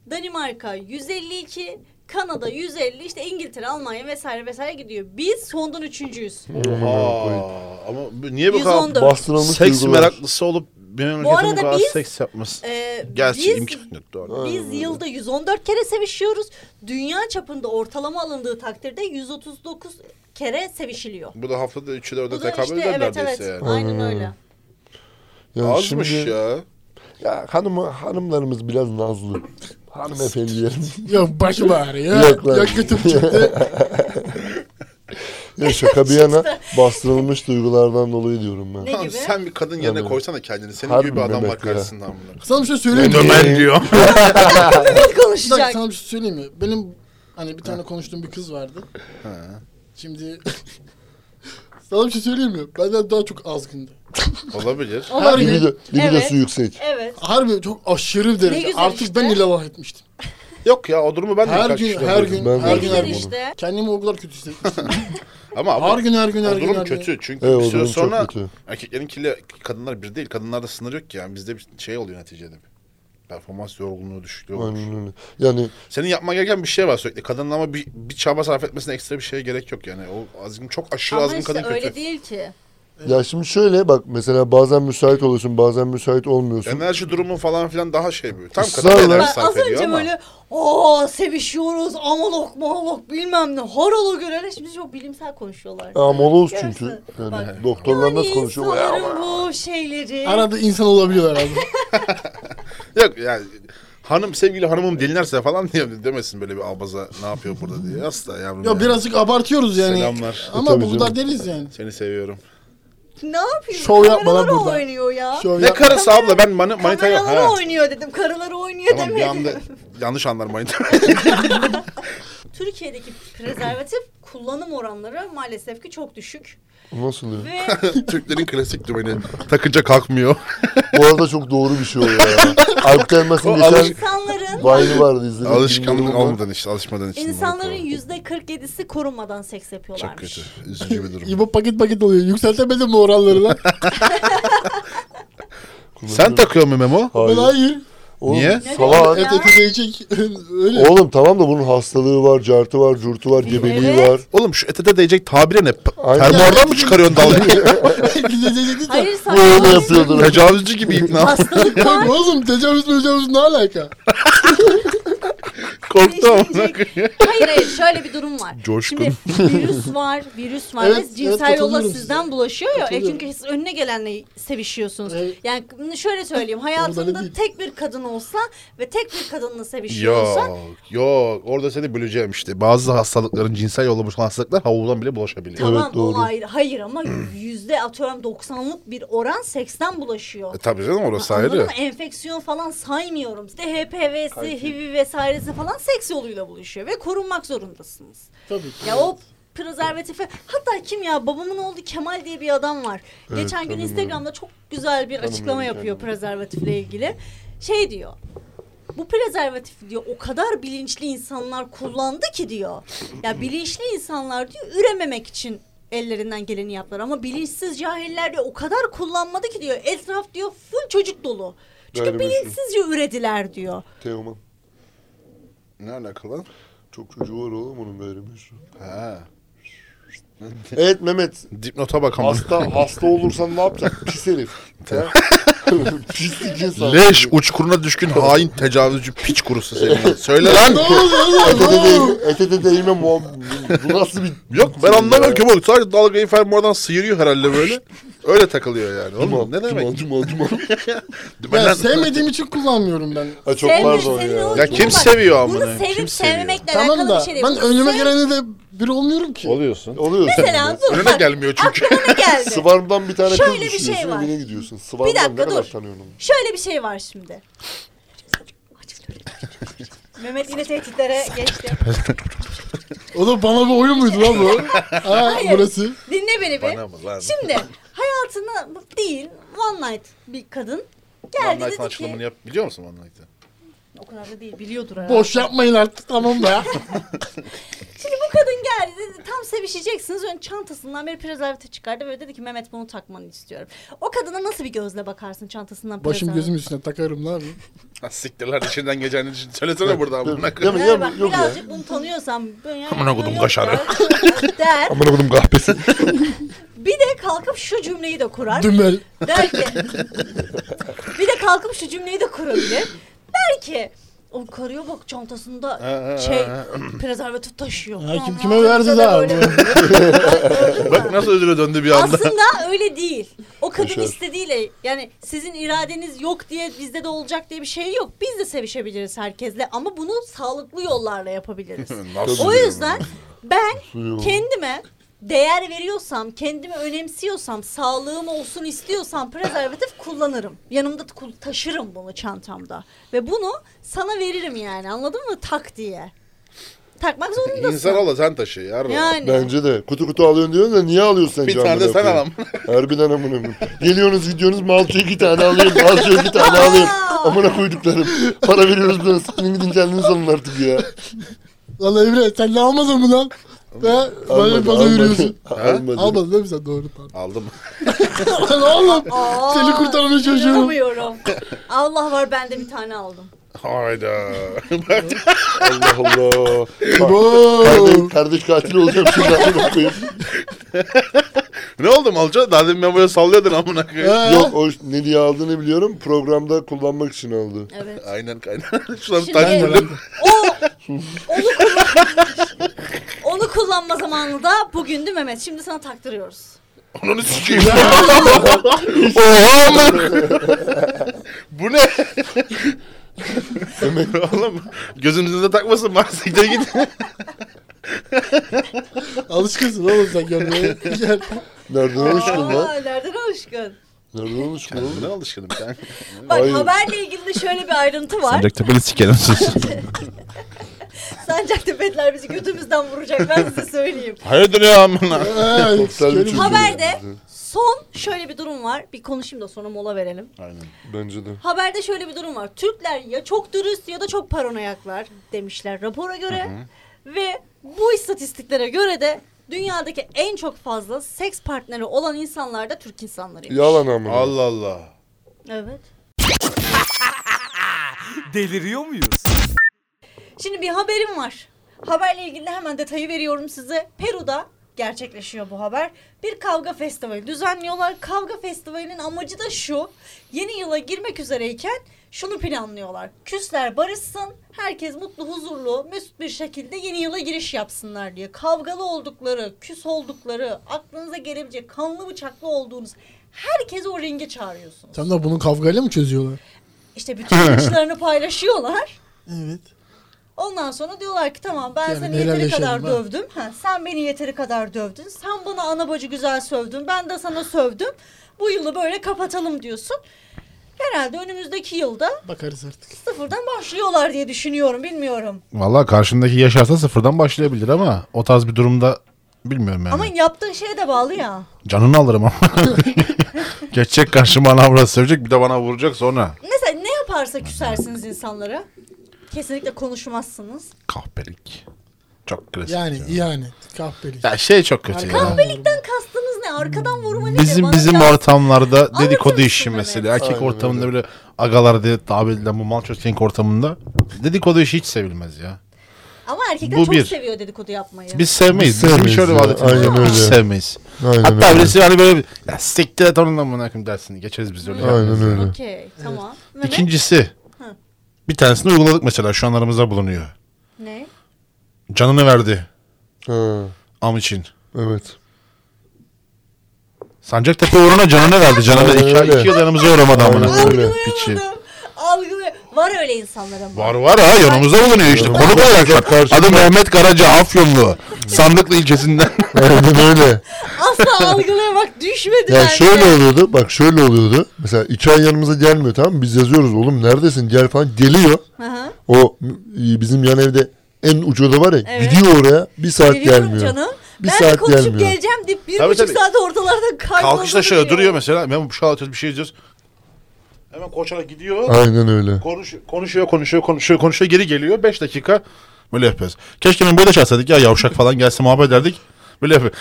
[SPEAKER 3] Danimarka 152, Kanada 150, işte İngiltere, Almanya vesaire vesaire gidiyor. Biz sondan üçüncüyüz.
[SPEAKER 4] Aa, ama bu- niye bu kadar
[SPEAKER 3] 114.
[SPEAKER 5] Bastırılmış
[SPEAKER 4] seks
[SPEAKER 5] duygular.
[SPEAKER 4] meraklısı olup bir memleketin bu
[SPEAKER 3] arada
[SPEAKER 4] kadar
[SPEAKER 3] biz-
[SPEAKER 4] seks yapması.
[SPEAKER 3] Ee,
[SPEAKER 4] Gerçi
[SPEAKER 3] biz-
[SPEAKER 4] imkan yok doğru.
[SPEAKER 3] Biz yılda 114 kere sevişiyoruz. Dünya çapında ortalama alındığı takdirde 139 kere sevişiliyor.
[SPEAKER 4] Bu da haftada 3'ü 4'e
[SPEAKER 3] Bu da
[SPEAKER 4] tekabül
[SPEAKER 3] işte
[SPEAKER 4] eder
[SPEAKER 3] evet evet
[SPEAKER 4] neredeyse yani.
[SPEAKER 3] aynen öyle.
[SPEAKER 5] Yani
[SPEAKER 4] Azmış ya.
[SPEAKER 5] Ya hanım, hanımlarımız biraz nazlı. Hanımefendilerim.
[SPEAKER 6] Ya başım ağrıyor.
[SPEAKER 5] Yok lan.
[SPEAKER 6] Ya götüm çıktı.
[SPEAKER 5] ya şaka bir yana bastırılmış duygulardan dolayı diyorum ben.
[SPEAKER 3] Ne
[SPEAKER 4] Lan
[SPEAKER 3] gibi?
[SPEAKER 4] sen bir kadın yerine
[SPEAKER 5] Tabii.
[SPEAKER 4] koysana kendini. Senin
[SPEAKER 5] Harbi
[SPEAKER 4] gibi bir adam var
[SPEAKER 5] Mehmet ya.
[SPEAKER 4] karşısında amına.
[SPEAKER 6] Sana bir şey söyleyeyim mi?
[SPEAKER 4] diyor.
[SPEAKER 6] Bir dakika,
[SPEAKER 3] konuşacak.
[SPEAKER 6] sana bir şey söyleyeyim mi? Benim hani bir tane konuştuğum bir kız vardı. Şimdi sana bir şey söyleyeyim mi? Benden daha çok azgındı.
[SPEAKER 4] Olabilir.
[SPEAKER 6] Her
[SPEAKER 5] Libido,
[SPEAKER 6] gün,
[SPEAKER 5] libidosu
[SPEAKER 3] Evet.
[SPEAKER 5] yüksek.
[SPEAKER 3] Evet.
[SPEAKER 6] harbi çok aşırı derece.
[SPEAKER 3] güzel
[SPEAKER 6] Artık
[SPEAKER 3] işte.
[SPEAKER 6] ben ilavah etmiştim.
[SPEAKER 4] Yok ya o durumu ben de
[SPEAKER 6] Her
[SPEAKER 4] birkaç
[SPEAKER 6] gün,
[SPEAKER 4] kişiden
[SPEAKER 6] her
[SPEAKER 4] duydum.
[SPEAKER 6] gün,
[SPEAKER 5] Ben de
[SPEAKER 6] her gün, her
[SPEAKER 3] Güzel
[SPEAKER 5] Güzel
[SPEAKER 6] gün.
[SPEAKER 3] işte.
[SPEAKER 6] Kendimi o kadar kötü hissetmiştim.
[SPEAKER 4] Ama abi,
[SPEAKER 6] her gün, her gün, her
[SPEAKER 4] o
[SPEAKER 6] gün,
[SPEAKER 4] durum
[SPEAKER 6] her gün.
[SPEAKER 4] kötü. Çünkü
[SPEAKER 5] Evet,
[SPEAKER 4] bir
[SPEAKER 5] o
[SPEAKER 4] süre
[SPEAKER 5] durum çok
[SPEAKER 4] sonra
[SPEAKER 5] kötü.
[SPEAKER 4] erkeklerin kirli kadınlar bir değil. Kadınlarda sınır yok ki yani. Bizde bir şey oluyor neticede. Performans yorgunluğu düşüklüğü olur.
[SPEAKER 5] Aynen öyle. Yani
[SPEAKER 4] Senin yapman gereken bir şey var sürekli. Kadının ama bir, bir çaba sarf etmesine ekstra bir şeye gerek yok yani. O azgın çok aşırı
[SPEAKER 3] Ama
[SPEAKER 4] azgın
[SPEAKER 3] işte
[SPEAKER 4] kadın
[SPEAKER 3] öyle
[SPEAKER 4] kötü.
[SPEAKER 3] değil ki.
[SPEAKER 5] ya şimdi şöyle bak mesela bazen müsait oluyorsun bazen müsait olmuyorsun.
[SPEAKER 4] Enerji durumu falan filan daha şey böyle. Tam kadın
[SPEAKER 5] Israrla-
[SPEAKER 3] Ben
[SPEAKER 4] enerji
[SPEAKER 3] az
[SPEAKER 4] sarf ediyor
[SPEAKER 3] önce
[SPEAKER 4] ama.
[SPEAKER 3] böyle aa sevişiyoruz amalok malok bilmem ne harala görele şimdi çok bilimsel konuşuyorlar.
[SPEAKER 5] Amoloz çünkü.
[SPEAKER 3] Yarısı.
[SPEAKER 5] Yani
[SPEAKER 3] Bak.
[SPEAKER 5] doktorlar nasıl konuşuyor? Ya
[SPEAKER 3] insanların bu şeyleri.
[SPEAKER 6] Ee? Arada insan olabiliyorlar abi.
[SPEAKER 4] Yok yani hanım sevgili hanımım dinlerse falan diye demesin böyle bir abaza ne yapıyor burada diye. Asla yavrum.
[SPEAKER 6] ya
[SPEAKER 4] yani.
[SPEAKER 6] birazcık abartıyoruz yani.
[SPEAKER 4] Selamlar.
[SPEAKER 6] Ama
[SPEAKER 5] Tabii
[SPEAKER 6] bu kadar
[SPEAKER 5] canım.
[SPEAKER 6] deliz yani.
[SPEAKER 4] Seni seviyorum.
[SPEAKER 3] ne yapayım?
[SPEAKER 6] Şov yapma lan
[SPEAKER 3] Kameralara
[SPEAKER 6] burada.
[SPEAKER 3] oynuyor ya.
[SPEAKER 6] Şöyle
[SPEAKER 4] Ne
[SPEAKER 6] yap-
[SPEAKER 4] karısı abla ben mani, manitayı...
[SPEAKER 3] Kameraları
[SPEAKER 4] Ha.
[SPEAKER 3] oynuyor dedim. Karıları oynuyor
[SPEAKER 4] Tamam bir
[SPEAKER 3] demedim.
[SPEAKER 4] anda yanlış anlar manita.
[SPEAKER 3] Türkiye'deki prezervatif kullanım oranları maalesef ki çok düşük.
[SPEAKER 5] Nasıl diyor?
[SPEAKER 3] Ve
[SPEAKER 4] Türklerin klasik dümeni. Takınca kalkmıyor.
[SPEAKER 5] Bu arada çok doğru bir şey oluyor ya. Aykut Elmas'ın
[SPEAKER 4] O
[SPEAKER 5] geçen
[SPEAKER 4] alış-
[SPEAKER 3] insanların
[SPEAKER 5] Vine'ı vardı izledim.
[SPEAKER 4] Alışkanlık
[SPEAKER 5] bilmiyorum ama
[SPEAKER 4] olmadan işte alışmadan işte.
[SPEAKER 3] insanların yüzde 47'si korunmadan seks
[SPEAKER 4] Çok
[SPEAKER 3] yapıyorlarmış.
[SPEAKER 4] kötü. Üzücü bir durum.
[SPEAKER 6] İbo paket paket oluyor. Yükseltemedim mi oranları lan?
[SPEAKER 4] Sen takıyor mu Memo?
[SPEAKER 6] Ben
[SPEAKER 5] Hayır.
[SPEAKER 6] hayır.
[SPEAKER 5] Oğlum,
[SPEAKER 4] Niye?
[SPEAKER 5] Salak.
[SPEAKER 6] Et eti değecek. Öyle.
[SPEAKER 5] Oğlum tamam da bunun hastalığı var, cartı var, curtu var, gebeliği
[SPEAKER 3] Evet.
[SPEAKER 5] var.
[SPEAKER 4] Oğlum şu ete de değecek tabire ne? P-
[SPEAKER 5] Aynen.
[SPEAKER 4] Fermuardan mı çıkarıyorsun dalgayı?
[SPEAKER 6] Gidecekti de.
[SPEAKER 3] Hayır
[SPEAKER 5] Bu öyle
[SPEAKER 3] saçmalama.
[SPEAKER 5] yapıyordur.
[SPEAKER 4] Tecavüzcü gibi ikna.
[SPEAKER 3] Hastalık var.
[SPEAKER 6] Oğlum tecavüz tecavüz ne alaka?
[SPEAKER 4] Korktum.
[SPEAKER 3] Değiştirecek. hayır hayır şöyle bir durum var.
[SPEAKER 4] Coşkun.
[SPEAKER 3] Şimdi virüs var, virüs var.
[SPEAKER 6] Evet,
[SPEAKER 3] ve
[SPEAKER 6] evet,
[SPEAKER 3] cinsel yolla
[SPEAKER 6] katılıyorum
[SPEAKER 3] sizden bulaşıyor ya. E
[SPEAKER 6] Katılıyorum.
[SPEAKER 3] çünkü siz önüne gelenle sevişiyorsunuz.
[SPEAKER 6] Evet.
[SPEAKER 3] Yani şöyle söyleyeyim.
[SPEAKER 6] Orada ne
[SPEAKER 3] Hayatında
[SPEAKER 6] değil.
[SPEAKER 3] tek bir kadın olsa ve tek bir şey kadınla sevişiyorsa
[SPEAKER 4] Yok yok orada seni böleceğim işte. Bazı hastalıkların cinsel yolla bulaşan hastalıklar havludan bile bulaşabiliyor.
[SPEAKER 3] Tamam
[SPEAKER 5] Evet, doğru.
[SPEAKER 3] o ayrı. Hayır ama yüzde atıyorum 90'lık bir oran seksten bulaşıyor.
[SPEAKER 4] E tabii canım orası
[SPEAKER 3] Anladın
[SPEAKER 4] ayrı.
[SPEAKER 3] mı? Enfeksiyon falan saymıyorum. İşte HPV'si, HIV vesairesi falan seks yoluyla buluşuyor ve korunmak zorundasınız.
[SPEAKER 6] Tabii.
[SPEAKER 3] Ya o prezervatifi hatta kim ya babamın oğlu Kemal diye bir adam var. Geçen gün Instagram'da çok güzel bir açıklama yapıyor prezervatifle ilgili. Şey diyor. Bu prezervatif diyor o kadar bilinçli insanlar kullandı ki diyor. Ya bilinçli insanlar diyor ürememek için ellerinden geleni yaptılar ama bilinçsiz cahiller diyor o kadar kullanmadı ki diyor etraf diyor full çocuk dolu. Çünkü
[SPEAKER 5] Böyle bir şey.
[SPEAKER 3] bilinçsizce ürediler diyor.
[SPEAKER 5] Teoman.
[SPEAKER 4] Ne alakalı?
[SPEAKER 5] Çok çocuğu var oğlum onun gayrimeşru.
[SPEAKER 4] Ha.
[SPEAKER 5] Evet Mehmet.
[SPEAKER 4] Dipnota bak ama.
[SPEAKER 5] Hasta hasta olursan ne yapacaksın? Pis herif. Ha? Pislik insan.
[SPEAKER 4] Leş uçkuruna düşkün hain tecavüzcü piç kurusu senin. Söyle lan.
[SPEAKER 5] Ete de değil- Ete de değme muhabbet. Bu nasıl bir...
[SPEAKER 4] Yok ben anlamıyorum ki bu. Sadece dalgayı fermuardan sıyırıyor herhalde böyle. Öyle takılıyor yani. Oğlum ne demek?
[SPEAKER 5] Cuman cuman cuman.
[SPEAKER 4] Ben-
[SPEAKER 6] Ya sevmediğim için kullanmıyorum ben.
[SPEAKER 5] Ha, çok
[SPEAKER 3] Sevmiyor,
[SPEAKER 5] pardon ya.
[SPEAKER 3] seviyor.
[SPEAKER 4] Ya
[SPEAKER 3] Çok
[SPEAKER 4] kim
[SPEAKER 3] bak,
[SPEAKER 4] seviyor amına?
[SPEAKER 3] Bunu
[SPEAKER 4] Kim
[SPEAKER 3] sevip
[SPEAKER 4] seviyor?
[SPEAKER 3] sevmemekle
[SPEAKER 6] Tamam
[SPEAKER 3] alakalı
[SPEAKER 6] da
[SPEAKER 3] bir şey değil.
[SPEAKER 6] ben
[SPEAKER 3] Bunu
[SPEAKER 6] önüme
[SPEAKER 3] sev-
[SPEAKER 6] girene de biri olmuyorum ki.
[SPEAKER 4] Oluyorsun.
[SPEAKER 5] Oluyor.
[SPEAKER 3] Mesela dur
[SPEAKER 4] Önüne
[SPEAKER 3] bak,
[SPEAKER 4] gelmiyor çünkü.
[SPEAKER 3] Aklıma geldi.
[SPEAKER 5] Sıvarmdan bir tane
[SPEAKER 3] Şöyle
[SPEAKER 5] kız
[SPEAKER 3] bir şey
[SPEAKER 5] düşüyorsun
[SPEAKER 3] var.
[SPEAKER 5] evine gidiyorsun. Sıvarmdan
[SPEAKER 3] Bir dakika,
[SPEAKER 5] ne kadar
[SPEAKER 3] dur.
[SPEAKER 5] tanıyorsun onu?
[SPEAKER 3] Şöyle bir şey var şimdi. Mehmet yine tehditlere geçti.
[SPEAKER 6] O da bana bir oyun muydu lan bu? ha,
[SPEAKER 3] Hayır.
[SPEAKER 6] burası.
[SPEAKER 3] Dinle beni bir.
[SPEAKER 4] Bana mı lan?
[SPEAKER 3] Şimdi hayatına değil one night bir kadın
[SPEAKER 4] One
[SPEAKER 3] geldi
[SPEAKER 4] Night'ın
[SPEAKER 3] dedi ki
[SPEAKER 4] açılımını yap. Biliyor musun One Night'ı?
[SPEAKER 3] o kadar da değil biliyordur herhalde.
[SPEAKER 6] Boş yapmayın artık tamam be.
[SPEAKER 3] Şimdi bu kadın geldi dedi tam sevişeceksiniz. Ön çantasından bir prezervatif çıkardı ve dedi ki Mehmet bunu takmanı istiyorum. O kadına nasıl bir gözle bakarsın çantasından
[SPEAKER 6] Başım
[SPEAKER 3] prezervatif-
[SPEAKER 6] gözüm üstüne takarım ne yapayım?
[SPEAKER 4] Ha, Siktirler içinden geçen için. Söylesene buradan bunu.
[SPEAKER 5] Değil mi?
[SPEAKER 3] Yani
[SPEAKER 5] Yok,
[SPEAKER 3] bak
[SPEAKER 5] yok ya.
[SPEAKER 3] birazcık bunu tanıyorsam yani
[SPEAKER 4] Amına kodum
[SPEAKER 3] yok
[SPEAKER 4] kaşarı.
[SPEAKER 3] ya, der.
[SPEAKER 5] Amına kodum kahpesi.
[SPEAKER 3] Bir de kalkıp şu cümleyi de kurar.
[SPEAKER 6] Dümbel.
[SPEAKER 3] Der ki. bir de kalkıp şu cümleyi de kurabilir. Der ki. O karıya bak çantasında
[SPEAKER 4] ha,
[SPEAKER 3] şey
[SPEAKER 4] ha,
[SPEAKER 3] prezervatif taşıyor.
[SPEAKER 6] Ha, kim
[SPEAKER 3] Aman
[SPEAKER 6] kime verdi
[SPEAKER 3] kimse de
[SPEAKER 6] daha?
[SPEAKER 3] böyle-
[SPEAKER 4] Bak nasıl özüne döndü bir anda.
[SPEAKER 3] Aslında öyle değil. O kadın
[SPEAKER 5] Yaşar.
[SPEAKER 3] istediğiyle yani sizin iradeniz yok diye bizde de olacak diye bir şey yok. Biz de sevişebiliriz herkesle ama bunu sağlıklı yollarla yapabiliriz.
[SPEAKER 4] Nasıl
[SPEAKER 3] o
[SPEAKER 4] diyorum
[SPEAKER 3] yüzden ben kendime değer veriyorsam, kendimi önemsiyorsam, sağlığım olsun istiyorsam prezervatif kullanırım. Yanımda t- kul- taşırım bunu çantamda. Ve bunu sana veririm yani anladın mı? Tak diye. Takmak zorundasın.
[SPEAKER 4] İnsan ol da sen taşı yarın.
[SPEAKER 3] yani.
[SPEAKER 5] Bence de. Kutu kutu alıyorsun diyorsun da niye alıyorsun sen
[SPEAKER 4] Bir
[SPEAKER 5] canlı
[SPEAKER 4] tane de sen
[SPEAKER 5] yapıyor?
[SPEAKER 4] alam.
[SPEAKER 5] Harbiden amına koyayım. Geliyorsunuz gidiyorsunuz malçı iki tane alayım. Malçı iki tane alayım. Amına koyduklarım. Para veriyoruz böyle. Sıkın gidin kendiniz alın artık ya.
[SPEAKER 6] Lan Emre sen ne almadın mı lan? Ve böyle bana yürüyorsun.
[SPEAKER 5] Almadı.
[SPEAKER 6] Almadın değil mi sen? Doğru pardon.
[SPEAKER 4] Aldım.
[SPEAKER 6] Lan oğlum.
[SPEAKER 3] Aa,
[SPEAKER 6] Seni kurtarmaya çalışıyorum.
[SPEAKER 3] inanamıyorum. Allah var ben de bir tane aldım.
[SPEAKER 4] Hayda.
[SPEAKER 5] Allah Allah.
[SPEAKER 6] Oo.
[SPEAKER 5] Kardeş, kardeş katil olacağım şimdi amına koyayım.
[SPEAKER 4] ne oldu Malca? Daha demin ben böyle sallıyordun amına koyayım.
[SPEAKER 6] Ha?
[SPEAKER 5] Yok o ne diye aldığını biliyorum. Programda kullanmak için aldı.
[SPEAKER 3] Evet.
[SPEAKER 4] Aynen kaynar. Şuna bir
[SPEAKER 3] Şimdi-
[SPEAKER 4] taş vurdum.
[SPEAKER 3] O onu kullan- onu kullanma zamanı da bugündü Mehmet. Şimdi sana taktırıyoruz.
[SPEAKER 4] Onu sikeyim. Oha amına. Bu ne? Oğlum gözünüzü de takmasın bana siktir git.
[SPEAKER 6] Alışkınsın oğlum sen görmeye. Gel.
[SPEAKER 5] Nereden
[SPEAKER 3] Aa,
[SPEAKER 5] alışkın lan?
[SPEAKER 3] Nereden alışkın?
[SPEAKER 5] Nereden alışkın oğlum?
[SPEAKER 4] Ne alışkınım ben.
[SPEAKER 3] Bak
[SPEAKER 5] Hayır.
[SPEAKER 3] haberle ilgili de şöyle bir ayrıntı var.
[SPEAKER 7] Sancaktepe'li sikerim sus.
[SPEAKER 3] Sancaktepe'liler bizi götümüzden vuracak ben size söyleyeyim.
[SPEAKER 4] Hayırdır ya amına.
[SPEAKER 6] Ha,
[SPEAKER 5] Sen bir
[SPEAKER 6] sikerim.
[SPEAKER 5] çocuğu.
[SPEAKER 3] Haberde son şöyle bir durum var. Bir konuşayım da sonra mola verelim.
[SPEAKER 4] Aynen.
[SPEAKER 5] Bence de.
[SPEAKER 3] Haberde şöyle bir durum var. Türkler ya çok dürüst ya da çok paranoyaklar demişler rapora göre. Ve bu istatistiklere göre de dünyadaki en çok fazla seks partneri olan insanlar da Türk insanlarıymış.
[SPEAKER 5] Yalan amına.
[SPEAKER 4] Allah Allah.
[SPEAKER 3] Evet.
[SPEAKER 2] Deliriyor muyuz?
[SPEAKER 3] Şimdi bir haberim var. Haberle ilgili de hemen detayı veriyorum size. Peru'da gerçekleşiyor bu haber. Bir kavga festivali düzenliyorlar. Kavga festivalinin amacı da şu. Yeni yıla girmek üzereyken şunu planlıyorlar. Küsler barışsın, herkes mutlu, huzurlu, mesut bir şekilde yeni yıla giriş yapsınlar diye. Kavgalı oldukları, küs oldukları, aklınıza gelebilecek kanlı bıçaklı olduğunuz herkesi o ringe çağırıyorsunuz.
[SPEAKER 6] Sen de bunu kavgayla mı çözüyorlar?
[SPEAKER 3] İşte bütün yaşlarını paylaşıyorlar.
[SPEAKER 6] Evet.
[SPEAKER 3] Ondan sonra diyorlar ki tamam ben
[SPEAKER 6] Yani
[SPEAKER 3] seni yeteri
[SPEAKER 6] helalleşelim
[SPEAKER 3] kadar
[SPEAKER 6] ha."
[SPEAKER 3] dövdüm. Ha, sen beni yeteri kadar dövdün. Sen bana ana bacı güzel sövdün. Ben de sana sövdüm. Bu yılı böyle kapatalım diyorsun. Herhalde önümüzdeki yılda
[SPEAKER 6] Bakarız artık.
[SPEAKER 3] sıfırdan başlıyorlar diye düşünüyorum. Bilmiyorum.
[SPEAKER 7] Valla karşındaki yaşarsa sıfırdan başlayabilir ama o tarz bir durumda bilmiyorum yani.
[SPEAKER 3] Ama yaptığın şeye de bağlı ya.
[SPEAKER 7] Canını alırım ama. Geçecek karşıma anavra sövecek bir de bana vuracak sonra.
[SPEAKER 3] Mesela ne yaparsa küsersiniz insanlara. Kesinlikle konuşmazsınız.
[SPEAKER 7] Kahpelik. Çok klasik.
[SPEAKER 6] Yani ihanet, kahpelik.
[SPEAKER 7] Ya şey çok kötü ya.
[SPEAKER 3] Kahpelikten arkadan vurma ne
[SPEAKER 4] Ee, Bizim
[SPEAKER 3] Bana
[SPEAKER 4] bizim
[SPEAKER 3] biraz-
[SPEAKER 4] ortamlarda dedikodu
[SPEAKER 3] mısın
[SPEAKER 4] işi
[SPEAKER 3] bana?
[SPEAKER 4] mesela. Erkek
[SPEAKER 5] Aynen
[SPEAKER 4] ortamında böyle agalar diye tabir edilen bu malço kink ortamında dedikodu işi hiç sevilmez ya.
[SPEAKER 3] Ama erkekler
[SPEAKER 4] Bu
[SPEAKER 3] çok
[SPEAKER 4] bir.
[SPEAKER 3] seviyor dedikodu yapmayı.
[SPEAKER 4] Biz sevmeyiz.
[SPEAKER 5] Biz
[SPEAKER 4] Bizim
[SPEAKER 5] sevmeyiz
[SPEAKER 4] şöyle bir
[SPEAKER 5] ya,
[SPEAKER 4] adetimiz
[SPEAKER 5] aynen
[SPEAKER 4] var. Biz
[SPEAKER 5] öyle.
[SPEAKER 4] sevmeyiz.
[SPEAKER 5] Aynen
[SPEAKER 4] Hatta
[SPEAKER 5] öyle.
[SPEAKER 4] birisi hani böyle bir ya siktir et onunla bunu akım dersini geçeriz biz öyle.
[SPEAKER 5] Aynen öyle.
[SPEAKER 3] Okey tamam. Ve ne?
[SPEAKER 4] İkincisi bir tanesini uyguladık mesela şu an aramızda bulunuyor.
[SPEAKER 3] Ne?
[SPEAKER 4] Canını verdi
[SPEAKER 5] Ha,
[SPEAKER 4] am için.
[SPEAKER 5] evet.
[SPEAKER 4] Sancaktepe uğruna canını verdi. Canını
[SPEAKER 5] Aynen
[SPEAKER 4] iki,
[SPEAKER 5] öyle.
[SPEAKER 4] iki yıl yanımıza uğramadı amına.
[SPEAKER 5] Aynen öyle.
[SPEAKER 4] koyayım. Piçi.
[SPEAKER 3] Algılıyor. Var öyle insanların.
[SPEAKER 4] Var var ha yanımızda bulunuyor işte. Konuk olarak var. Adı Mehmet Karaca Afyonlu. Sandıklı ilçesinden.
[SPEAKER 5] Aynen öyle.
[SPEAKER 3] Asla algılıyor bak düşmedi
[SPEAKER 5] Ya
[SPEAKER 3] bence.
[SPEAKER 5] şöyle oluyordu. Bak şöyle oluyordu. Mesela iki ay yanımıza gelmiyor tamam mı? Biz yazıyoruz oğlum neredesin gel falan geliyor.
[SPEAKER 3] Hı hı.
[SPEAKER 5] O m- bizim yan evde en ucu oda var ya
[SPEAKER 3] Evet.
[SPEAKER 5] gidiyor oraya bir saat
[SPEAKER 3] Biliyorum
[SPEAKER 5] gelmiyor.
[SPEAKER 3] canım.
[SPEAKER 5] Bir
[SPEAKER 3] ben de
[SPEAKER 5] saat
[SPEAKER 3] konuşup
[SPEAKER 5] gelmiyor.
[SPEAKER 3] geleceğim deyip bir
[SPEAKER 4] Tabii,
[SPEAKER 3] buçuk
[SPEAKER 4] tabii.
[SPEAKER 3] saat ortalarda kaybolduğunu
[SPEAKER 4] Kalkışta şöyle
[SPEAKER 3] biliyorum.
[SPEAKER 4] duruyor mesela. Ben bu şu an bir şey izliyoruz. Hemen koşarak gidiyor.
[SPEAKER 5] Aynen öyle.
[SPEAKER 4] Konuş, konuşuyor, konuşuyor, konuşuyor, konuşuyor. Geri geliyor. 5 dakika böyle yapıyoruz. Keşke ben böyle çalsaydık ya yavşak falan gelse muhabbet ederdik. Böyle yapıyor.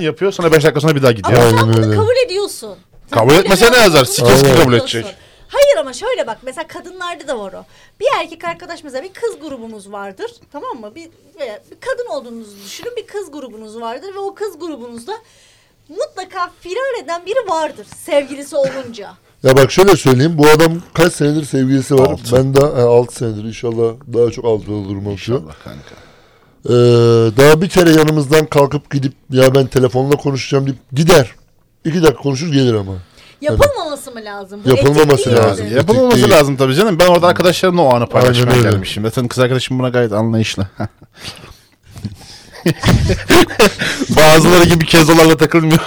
[SPEAKER 4] yapıyor. Sonra 5 dakika sonra bir daha gidiyor.
[SPEAKER 3] Ama sen
[SPEAKER 5] Aynen
[SPEAKER 3] bunu
[SPEAKER 5] öyle.
[SPEAKER 3] kabul ediyorsun. Sen
[SPEAKER 4] Kabul
[SPEAKER 3] böyle
[SPEAKER 4] etmese ne
[SPEAKER 3] bir
[SPEAKER 4] yazar?
[SPEAKER 3] adamı
[SPEAKER 4] Sikes
[SPEAKER 5] Aynen.
[SPEAKER 4] kabul
[SPEAKER 3] ediyorsun.
[SPEAKER 4] edecek.
[SPEAKER 3] Hayır ama şöyle bak mesela kadınlarda da var o. Bir erkek arkadaş mesela bir kız grubumuz vardır tamam mı? Bir, veya bir kadın olduğunuzu düşünün bir kız grubunuz vardır ve o kız grubunuzda mutlaka firar eden biri vardır sevgilisi olunca.
[SPEAKER 5] Ya bak şöyle söyleyeyim. Bu adam kaç senedir sevgilisi var.
[SPEAKER 4] Altı.
[SPEAKER 5] Ben daha 6 senedir inşallah daha çok altı olurum. İnşallah.
[SPEAKER 4] Allah kanka.
[SPEAKER 5] Ee, daha bir kere yanımızdan kalkıp gidip ya ben telefonla konuşacağım deyip gider. İki dakika konuşur gelir ama.
[SPEAKER 3] Yapılmaması mı lazım? Bu
[SPEAKER 5] Yapılmaması
[SPEAKER 3] etik değil
[SPEAKER 5] lazım.
[SPEAKER 3] mi?
[SPEAKER 5] Etik
[SPEAKER 4] Yapılmaması
[SPEAKER 5] değil.
[SPEAKER 4] lazım tabii canım. Ben orada arkadaşlarımla o anı paylaşmaya
[SPEAKER 5] öyle.
[SPEAKER 4] gelmişim. Zaten kız arkadaşım buna gayet anlayışlı. Bazıları gibi kezolarla takılmıyor.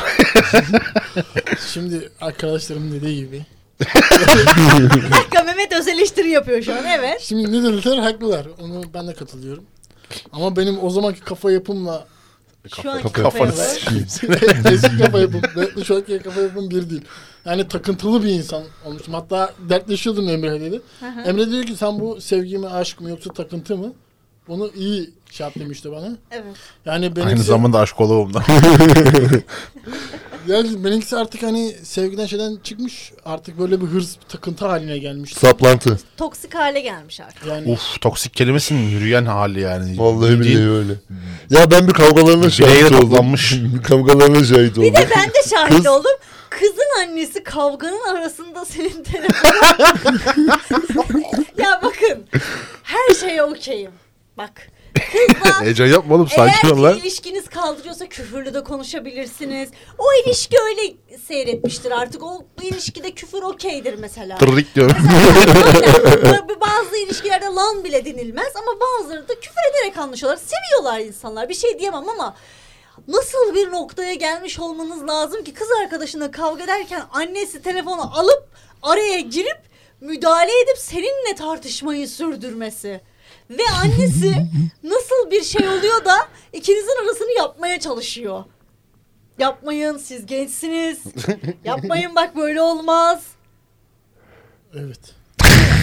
[SPEAKER 6] Şimdi arkadaşlarım dediği gibi.
[SPEAKER 3] Bir dakika Mehmet öz eleştiri yapıyor şu an evet.
[SPEAKER 6] Şimdi ne dediler haklılar. Onu ben de katılıyorum. Ama benim o zamanki kafa yapımla
[SPEAKER 3] Şu an
[SPEAKER 4] kafanı
[SPEAKER 6] eski kafa yapım, dertli şu anki kafa yapım bir değil. Yani takıntılı bir insan olmuştum. Hatta dertleşiyordum Emre dedi. Emre diyor ki sen bu sevgi mi aşk mı yoksa takıntı mı? Bunu iyi şey yap demişti bana.
[SPEAKER 3] Evet.
[SPEAKER 6] Yani benimki,
[SPEAKER 4] Aynı zamanda aşk oluğum da.
[SPEAKER 6] yani benimkisi artık hani sevgiden şeyden çıkmış. Artık böyle bir hırs bir takıntı haline gelmişti.
[SPEAKER 5] Saplantı.
[SPEAKER 3] Toksik hale gelmiş artık.
[SPEAKER 6] Yani
[SPEAKER 4] Uf toksik kelimesinin yürüyen hali yani.
[SPEAKER 5] Vallahi
[SPEAKER 4] Bildiğin-
[SPEAKER 5] billahi öyle. Ya ben bir kavgalarına şahit oldum.
[SPEAKER 4] toplanmış.
[SPEAKER 5] Bir kavgalarına şahit oldum.
[SPEAKER 3] Bir de ben de şahit
[SPEAKER 5] Kız-
[SPEAKER 3] oldum. Kızın annesi kavganın arasında senin telefonun. ya bakın her şeye okeyim. Bak. Kızla
[SPEAKER 4] Heyecan yapma oğlum sakin
[SPEAKER 3] eğer
[SPEAKER 4] ol lan.
[SPEAKER 3] ki ilişkiniz kaldırıyorsa küfürlü de konuşabilirsiniz. O ilişki öyle seyretmiştir artık. O bu ilişkide küfür okeydir mesela.
[SPEAKER 4] Tırrik diyorum.
[SPEAKER 3] Aynen. Böyle bazı ilişkilerde lan bile denilmez ama bazıları da küfür ederek anlaşıyorlar. Seviyorlar insanlar bir şey diyemem ama nasıl bir noktaya gelmiş olmanız lazım ki kız arkadaşına kavga ederken annesi telefonu alıp araya girip müdahale edip seninle tartışmayı sürdürmesi. Ve annesi nasıl bir şey oluyor da ikinizin arasını yapmaya çalışıyor. Yapmayın siz gençsiniz. Yapmayın bak böyle olmaz.
[SPEAKER 6] evet.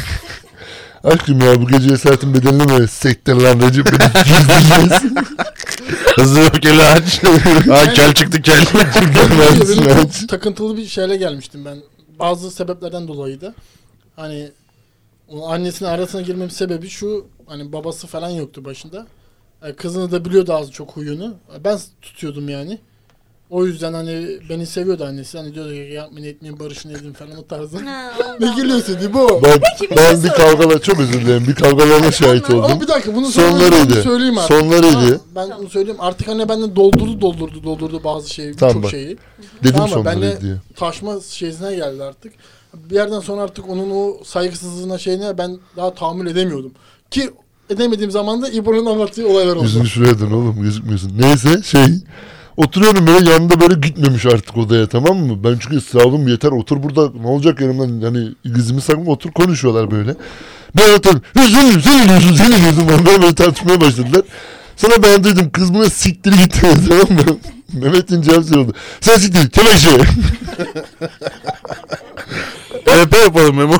[SPEAKER 5] Aşkım ya bu gece esaretin bedelini mi sektir lan Recep beni gizleyeceğiz.
[SPEAKER 4] Hızlı yok gel aç. Ha gel çıktı gel.
[SPEAKER 5] Versin
[SPEAKER 6] Benim
[SPEAKER 5] lan.
[SPEAKER 6] çok takıntılı bir şeyle gelmiştim ben. Bazı sebeplerden dolayı da. Hani o annesinin arasına girmemin sebebi şu. Hani babası falan yoktu başında. E, Kızını da biliyordu az çok huyunu. E, Ben tutuyordum yani. O yüzden hani beni seviyordu annesi. Hani diyordu ki yapmayın etmeyin barışın edin falan o tarzı.
[SPEAKER 3] Ha,
[SPEAKER 6] ne geliyorsun diye bu.
[SPEAKER 5] Ben,
[SPEAKER 3] bir şey
[SPEAKER 5] ben bir
[SPEAKER 3] söyleyeyim.
[SPEAKER 5] kavgalar çok özür dilerim. Bir kavgalarına şahit
[SPEAKER 3] Ama-
[SPEAKER 5] oldum.
[SPEAKER 6] Ama bir dakika bunu
[SPEAKER 5] Sonlarıydı.
[SPEAKER 6] söyleyeyim artık.
[SPEAKER 5] Sonlarıydı.
[SPEAKER 6] Tamam, ben bunu söyleyeyim. Artık anne benden doldurdu doldurdu doldurdu bazı şeyi.
[SPEAKER 5] Tamam
[SPEAKER 6] çok
[SPEAKER 5] bak.
[SPEAKER 6] şeyi.
[SPEAKER 5] Dedim
[SPEAKER 6] Tamam, ben de
[SPEAKER 5] sonlarıydı diye.
[SPEAKER 6] taşma şeysine geldi artık. Bir yerden sonra artık onun o saygısızlığına şeyine ben daha tahammül edemiyordum. Ki edemediğim zaman da İbo'nun anlattığı olaylar oldu.
[SPEAKER 5] Yüzünü şuraya dön oğlum gözükmüyorsun. Neyse şey oturuyorum böyle yanında böyle gitmemiş artık odaya tamam mı? Ben çünkü sağlam yeter otur burada ne olacak yanımdan hani gözümü sakma otur konuşuyorlar böyle. Ben oturuyorum "Ya seni seni diyorsun seni diyorsun bana böyle tartışmaya başladılar. Sonra ben duydum kız buna siktir git dedi, tamam mı? Mehmet'in cevap oldu. Sen siktir git kemeşe.
[SPEAKER 4] BP yapalım Memo.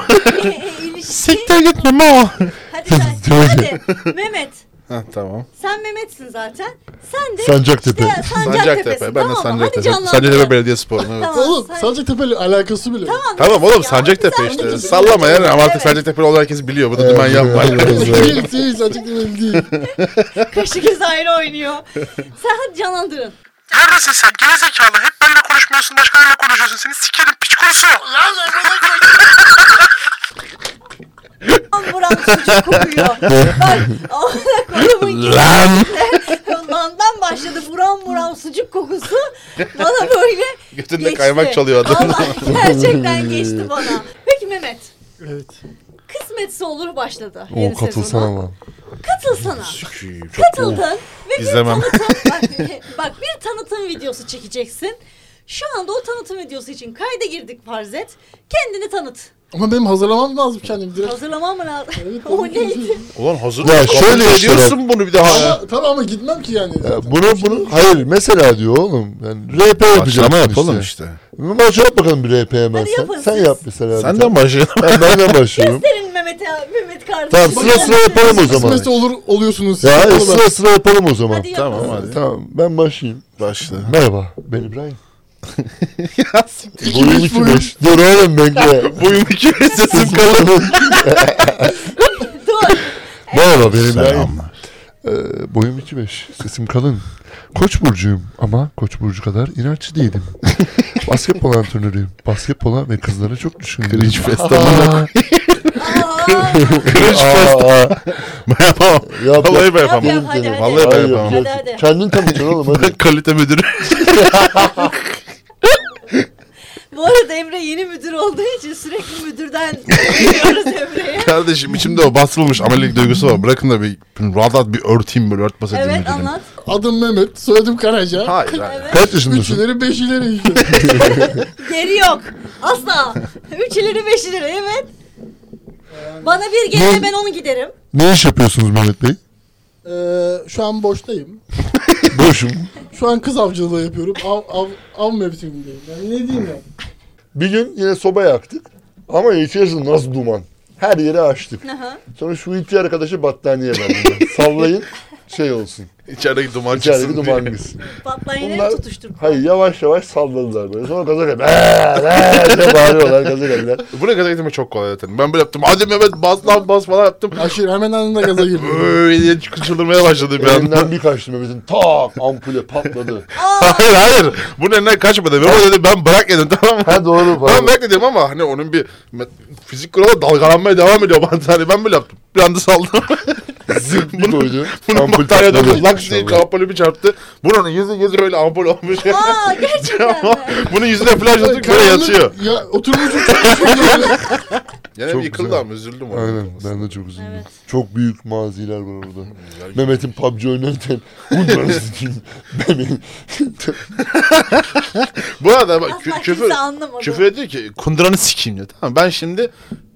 [SPEAKER 3] ilişki.
[SPEAKER 4] Siktir git Memo.
[SPEAKER 3] Hadi sen. hadi. Mehmet.
[SPEAKER 4] Ha, tamam.
[SPEAKER 3] Sen Mehmet'sin zaten. Sen de
[SPEAKER 5] Sancaktepe.
[SPEAKER 3] işte Sancaktepe'sin.
[SPEAKER 4] Sancaktepe. Ben de
[SPEAKER 3] tamam mı? Hadi
[SPEAKER 4] Sancaktepe.
[SPEAKER 3] canlandır.
[SPEAKER 4] Sancaktepe Belediye Sporu'nun evet.
[SPEAKER 3] Tamam,
[SPEAKER 6] Oğlum
[SPEAKER 3] sen-
[SPEAKER 6] Sancaktepe ile alakası bile. yok.
[SPEAKER 3] Tamam,
[SPEAKER 4] Tamam oğlum
[SPEAKER 3] ya,
[SPEAKER 4] Sancaktepe
[SPEAKER 3] güzel
[SPEAKER 4] işte.
[SPEAKER 3] güzel.
[SPEAKER 4] Sallama ya. Ama artık
[SPEAKER 3] Evet.
[SPEAKER 4] Sancaktepe'li olan herkes biliyor. Burada dümen yapma.
[SPEAKER 6] Değil değil Sancaktepe değil.
[SPEAKER 3] Kaşı göz ayrı oynuyor. Sen hadi canlandırın.
[SPEAKER 7] Neredesin sen gerizekalı? Hep benimle konuşmuyorsun başkalarıyla konuşuyorsun. Seni sikerim piç kurusu.
[SPEAKER 3] Lan buram sucuk kokuyor. Bak amına koyduğumun
[SPEAKER 7] Lan!
[SPEAKER 3] Lan'dan başladı buram buram sucuk kokusu bana böyle
[SPEAKER 4] Götünde
[SPEAKER 3] geçti.
[SPEAKER 4] kaymak çalıyor adamın.
[SPEAKER 3] Allah gerçekten geçti bana. Peki Mehmet
[SPEAKER 6] Evet.
[SPEAKER 3] kısmetse olur başladı.
[SPEAKER 5] O
[SPEAKER 3] yeni
[SPEAKER 5] katılsana
[SPEAKER 3] sezona.
[SPEAKER 5] lan.
[SPEAKER 3] Katılsana.
[SPEAKER 4] Süküyüm.
[SPEAKER 3] Katıldın ve bir
[SPEAKER 4] İzlemem.
[SPEAKER 3] tanıtım bak, bak bir tanıtım videosu çekeceksin. Şu anda o tanıtım videosu için kayda girdik farz et. Kendini tanıt.
[SPEAKER 6] Ama benim hazırlamam lazım kendimi direkt.
[SPEAKER 3] Hazırlamam mı lazım?
[SPEAKER 6] Evet,
[SPEAKER 3] o neydi?
[SPEAKER 4] Ulan hazır.
[SPEAKER 5] Ya
[SPEAKER 4] Ya
[SPEAKER 5] şöyle
[SPEAKER 4] şöyle
[SPEAKER 5] işte
[SPEAKER 4] ediyorsun bunu bir daha.
[SPEAKER 6] Ama, tamam ama gitmem ki yani.
[SPEAKER 5] Ya
[SPEAKER 6] zaten.
[SPEAKER 5] bunu bunu hayır mesela diyor oğlum. Yani RP yapacağım.
[SPEAKER 4] Açlama yapalım işte.
[SPEAKER 5] Maç yap bakalım bir RP hemen
[SPEAKER 3] Hadi
[SPEAKER 5] sen.
[SPEAKER 3] yapın
[SPEAKER 5] Sen
[SPEAKER 3] siz.
[SPEAKER 5] yap mesela. bir
[SPEAKER 4] Senden başlayalım.
[SPEAKER 5] tane. Ben benden başlıyorum.
[SPEAKER 3] Senin Mehmet, ya- Mehmet kardeşim.
[SPEAKER 5] Tamam sıra sıra yapalım o zaman.
[SPEAKER 6] Kısmetse olur oluyorsunuz.
[SPEAKER 5] Ya hayır,
[SPEAKER 6] Olur ben.
[SPEAKER 5] sıra sıra yapalım o zaman.
[SPEAKER 3] Hadi yapalım.
[SPEAKER 4] Tamam hadi.
[SPEAKER 5] Tamam ben başlayayım.
[SPEAKER 4] Başla.
[SPEAKER 5] Merhaba ben İbrahim.
[SPEAKER 4] Ya siktir.
[SPEAKER 5] Boyum 2-5. Dur oğlum bekle.
[SPEAKER 4] Boyum iki ve sesim kalın.
[SPEAKER 3] Dur.
[SPEAKER 5] Merhaba benim İbrahim. Ee, boyum 2-5. Sesim kalın. Koç burcuyum ama koç burcu kadar inatçı değilim. Basketbol antrenörüyüm. Basketbola ve kızlara çok düşkünüm. Cringe
[SPEAKER 3] Aa,
[SPEAKER 4] Ben yapamam.
[SPEAKER 5] Ya ben-
[SPEAKER 4] Vallahi
[SPEAKER 3] yap
[SPEAKER 4] ben yapamam.
[SPEAKER 3] yap hadi hadi.
[SPEAKER 4] Vallahi ben
[SPEAKER 5] Hayır,
[SPEAKER 4] yapamam.
[SPEAKER 3] Hadi hadi.
[SPEAKER 5] Kendin tanıtın oğlum hadi.
[SPEAKER 4] Kalite müdürü.
[SPEAKER 3] Bu arada Emre yeni müdür olduğu için sürekli müdürden geliyoruz Emre'ye.
[SPEAKER 4] Kardeşim içimde o bastırılmış amelilik duygusu var. Bırakın da bir rahat rahat bir örteyim böyle örtmasaydım.
[SPEAKER 3] Evet anlat.
[SPEAKER 6] Adım Mehmet, soyadım Karaca.
[SPEAKER 4] Hayır hayır.
[SPEAKER 5] Kaç yaşındasın?
[SPEAKER 6] Üçleri beşileri işte.
[SPEAKER 3] Geri yok. Asla. Üç ileri beş ileri evet. Bana bir gelene ben onu giderim.
[SPEAKER 5] Ne iş yapıyorsunuz Mehmet Bey?
[SPEAKER 6] Ee, şu an boştayım.
[SPEAKER 5] Boşum.
[SPEAKER 6] Şu an kız avcılığı yapıyorum. Av, av, av mevsimindeyim. Yani ne diyeyim ya?
[SPEAKER 5] Bir gün yine soba yaktık. Ama içerisi nasıl duman. Her yeri açtık.
[SPEAKER 3] Aha.
[SPEAKER 5] Sonra şu iti arkadaşı battaniye verdim. Sallayın şey olsun.
[SPEAKER 4] İçerideki duman
[SPEAKER 5] İçeride bir
[SPEAKER 4] çıksın
[SPEAKER 5] duman
[SPEAKER 4] diye.
[SPEAKER 5] gitsin.
[SPEAKER 3] Patlayını
[SPEAKER 5] Bunlar-
[SPEAKER 3] tutuştur.
[SPEAKER 5] Hayır yavaş yavaş salladılar böyle. Sonra gaza geldi. "Eee, eee" diye bağırıyorlar gaza geldiler.
[SPEAKER 4] Buraya kadar gitmek çok kolay zaten. Ben böyle yaptım. Hadi Mehmet bas lan bas falan yaptım.
[SPEAKER 6] Aşırı hemen anında gaza girdim.
[SPEAKER 4] Böyle diye çıldırmaya başladım bir anda.
[SPEAKER 5] Elimden bir kaçtı Mehmet'in tak ampule patladı.
[SPEAKER 4] hayır hayır. Bunun elinden kaçmadı. Memo dedi ben bırak dedim tamam mı?
[SPEAKER 5] Ha doğru
[SPEAKER 4] Ben
[SPEAKER 5] pardon.
[SPEAKER 4] bırak dedim ama hani onun bir me- fizik kuralı dalgalanmaya devam ediyor batarya. Ben böyle yaptım. Bir anda saldım.
[SPEAKER 5] Zıp bir koydu.
[SPEAKER 4] Bunun
[SPEAKER 5] Ampul
[SPEAKER 4] bataryada
[SPEAKER 5] patladı.
[SPEAKER 4] bir lak diye kampolü bir çarptı. Bunun yüzü yüzü böyle ampul olmuş.
[SPEAKER 3] Aa gerçekten mi?
[SPEAKER 4] Bunun yüzüne flash atıp böyle
[SPEAKER 6] Karanlık-
[SPEAKER 4] yatıyor.
[SPEAKER 6] Ya oturmuş
[SPEAKER 4] Yani
[SPEAKER 5] Çok
[SPEAKER 4] yıkıldı
[SPEAKER 5] güzel.
[SPEAKER 4] ama üzüldüm. ona.
[SPEAKER 5] Aynen ben de çok üzüldüm. Çok büyük maziler var orada. Mehmet'in PUBG oynarken bunları sikeyim. Mehmet-
[SPEAKER 4] Bu arada bak
[SPEAKER 3] Asla
[SPEAKER 4] kü-
[SPEAKER 3] kimse
[SPEAKER 4] küfür,
[SPEAKER 3] anlamadı.
[SPEAKER 4] küfür ediyor ki kunduranı sikeyim diyor. Tamam ben şimdi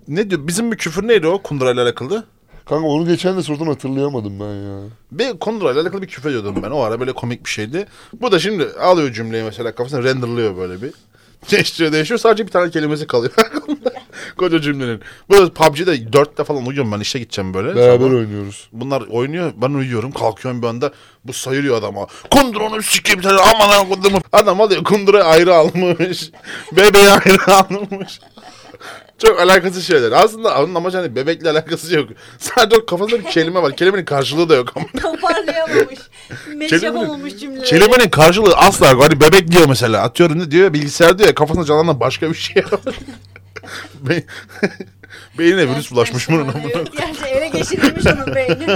[SPEAKER 4] ne diyor bizim bir küfür neydi o kundurayla alakalı?
[SPEAKER 5] Kanka onu geçen de sordan hatırlayamadım ben ya.
[SPEAKER 4] Bir kundurayla alakalı bir küfür ediyordum ben. O ara böyle komik bir şeydi. Bu da şimdi alıyor cümleyi mesela kafasına renderlıyor böyle bir. Değiştiriyor değişiyor sadece bir tane kelimesi kalıyor. Koca cümlenin. Bu da PUBG'de dörtte falan uyuyorum ben işe gideceğim böyle.
[SPEAKER 5] Beraber
[SPEAKER 4] Sabah.
[SPEAKER 5] oynuyoruz.
[SPEAKER 4] Bunlar oynuyor. Ben uyuyorum. Kalkıyorum bir anda. Bu sayılıyor adama. Kundurunu sikeyim seni. Aman ha kundurumu. Adam alıyor. Kundura ayrı almış. Bebeği ayrı almış. Çok alakasız şeyler. Aslında onun amacı hani bebekle alakası yok. Sadece o kafasında bir kelime var. Kelimenin karşılığı da yok ama.
[SPEAKER 3] Toparlayamamış. Meş yapamamış cümleleri.
[SPEAKER 4] Kelimenin karşılığı asla yok. Hani bebek diyor mesela. Atıyorum ne diyor? Bilgisayar diyor ya. Kafasında canlanan başka bir şey var. Be- Beynine virüs bulaşmış bunun. amına.
[SPEAKER 3] Evet, Gerçi ele geçirilmiş onun beyni.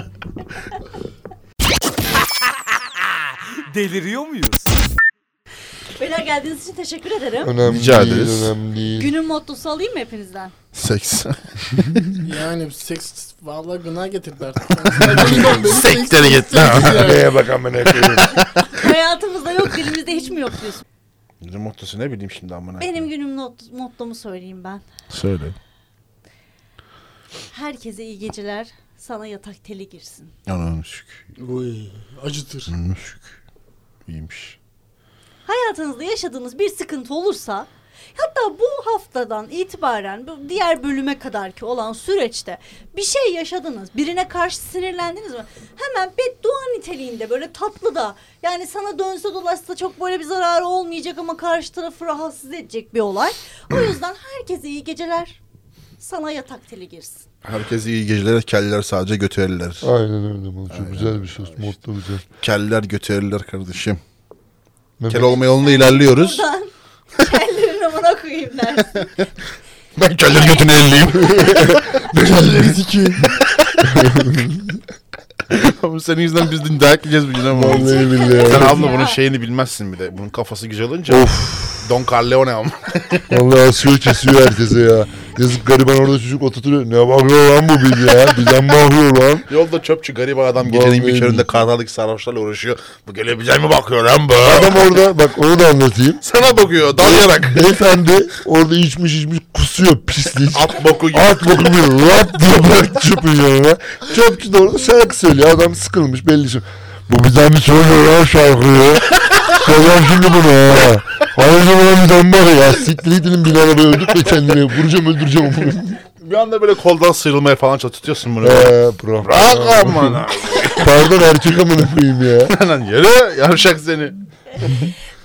[SPEAKER 2] Deliriyor muyuz?
[SPEAKER 3] Beyler geldiğiniz için teşekkür ederim.
[SPEAKER 5] Önemli
[SPEAKER 4] Rica
[SPEAKER 5] değil,
[SPEAKER 4] ederiz.
[SPEAKER 5] önemli değil.
[SPEAKER 3] Günün mottosu alayım mı hepinizden?
[SPEAKER 4] Seks.
[SPEAKER 6] Yani seks vallahi gına getirdi artık. Yani
[SPEAKER 4] Sektörü git lan.
[SPEAKER 5] Neye bak amına koyayım.
[SPEAKER 3] Hayatımızda yok, dilimizde hiç mi yok diyorsun?
[SPEAKER 4] Bizim mottosu ne bileyim şimdi amına.
[SPEAKER 3] Benim günüm not, mottomu söyleyeyim ben.
[SPEAKER 4] Söyle.
[SPEAKER 3] Herkese iyi geceler, sana yatak teli girsin.
[SPEAKER 4] Ananı sük.
[SPEAKER 6] Uy, acıtır.
[SPEAKER 4] Ananı sük. İyiymiş.
[SPEAKER 3] Hayatınızda yaşadığınız bir sıkıntı olursa Hatta bu haftadan itibaren bu diğer bölüme kadar ki olan süreçte bir şey yaşadınız. Birine karşı sinirlendiniz mi? Hemen beddua niteliğinde böyle tatlı da yani sana dönse dolaşsa çok böyle bir zararı olmayacak ama karşı tarafı rahatsız edecek bir olay. O yüzden herkese iyi geceler. Sana yatak teli girsin.
[SPEAKER 5] Herkese iyi geceler. Keller sadece götürürler.
[SPEAKER 8] Aynen öyle. bu. Çok güzel bir söz. Mutlu güzel.
[SPEAKER 5] Keller götürürler kardeşim.
[SPEAKER 8] Mehmet,
[SPEAKER 5] Kel olma yolunda ilerliyoruz.
[SPEAKER 3] Buradan kellerini bana koyayım dersin.
[SPEAKER 5] ben keller götünü elleyeyim. Oğlum Senin yüzünden biz de dayak yiyeceğiz bir gün ama.
[SPEAKER 8] Vallahi billahi.
[SPEAKER 5] Sen
[SPEAKER 8] ya.
[SPEAKER 5] abla bunun şeyini bilmezsin bir de. Bunun kafası güzel olunca. Don Corleone ama.
[SPEAKER 8] Vallahi asıyor kesiyor herkese ya. Yazık gariban orada çocuk oturtuyor. Ne bakıyor lan bu bir ya. Bizden bakıyor lan.
[SPEAKER 5] Yolda çöpçü gariban adam
[SPEAKER 8] Vallahi
[SPEAKER 5] gecenin bir
[SPEAKER 8] billahi.
[SPEAKER 5] köründe karnalık sarhoşlarla uğraşıyor. Bu gelebilecek mi bakıyor lan bu?
[SPEAKER 8] Adam orada bak onu da anlatayım.
[SPEAKER 5] Sana bakıyor dalayarak.
[SPEAKER 8] Beyefendi orada içmiş içmiş kusuyor pislik.
[SPEAKER 5] At boku gibi.
[SPEAKER 8] At bakımı lap diye bırak çöpün yanına. Çöpçü de orada şarkı söylüyor. Adam sıkılmış belli şey. Bu bizden bir şey söylüyor lan şarkıyı. Söyleyeyim şimdi bunu ha. Hayır zaman bizden var ya. Siktir gidin bir arabaya öldürtme kendini. Vuracağım öldüreceğim onu.
[SPEAKER 5] Bir anda böyle koldan sıyrılmaya falan çalışıyorsun bunu.
[SPEAKER 8] Eee bro.
[SPEAKER 5] Bırak aman.
[SPEAKER 8] Pardon erkek amına koyayım ya.
[SPEAKER 5] Lan yürü yavşak seni.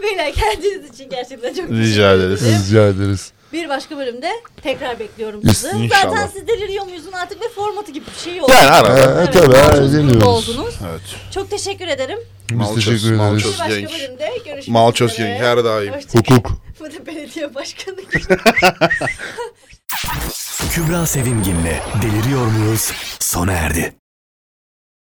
[SPEAKER 3] Beyler kendiniz için gerçekten çok
[SPEAKER 5] Rica ederiz.
[SPEAKER 8] Rica ederiz.
[SPEAKER 3] Bir başka bölümde tekrar bekliyorum
[SPEAKER 8] İs-
[SPEAKER 3] sizi.
[SPEAKER 5] İnşallah.
[SPEAKER 3] Zaten siz deliriyor muyuzun artık ve formatı gibi bir şey oldu.
[SPEAKER 5] Yani arada.
[SPEAKER 8] Ha, tabii ha,
[SPEAKER 3] Çok mutlu
[SPEAKER 8] geliyoruz.
[SPEAKER 3] oldunuz.
[SPEAKER 5] Evet.
[SPEAKER 3] Çok teşekkür ederim.
[SPEAKER 8] Biz
[SPEAKER 5] Malçöz,
[SPEAKER 8] teşekkür ederiz.
[SPEAKER 3] Bir
[SPEAKER 5] malçöz. Çok
[SPEAKER 3] başka
[SPEAKER 5] genç.
[SPEAKER 3] bölümde görüşmek
[SPEAKER 5] Malçöz
[SPEAKER 3] üzere.
[SPEAKER 5] genç, her daim.
[SPEAKER 3] Hoşçakalın.
[SPEAKER 8] Hukuk.
[SPEAKER 3] Bu da belediye başkanı.
[SPEAKER 1] Kübra Sevimgin'le Deliriyor Muyuz sona erdi.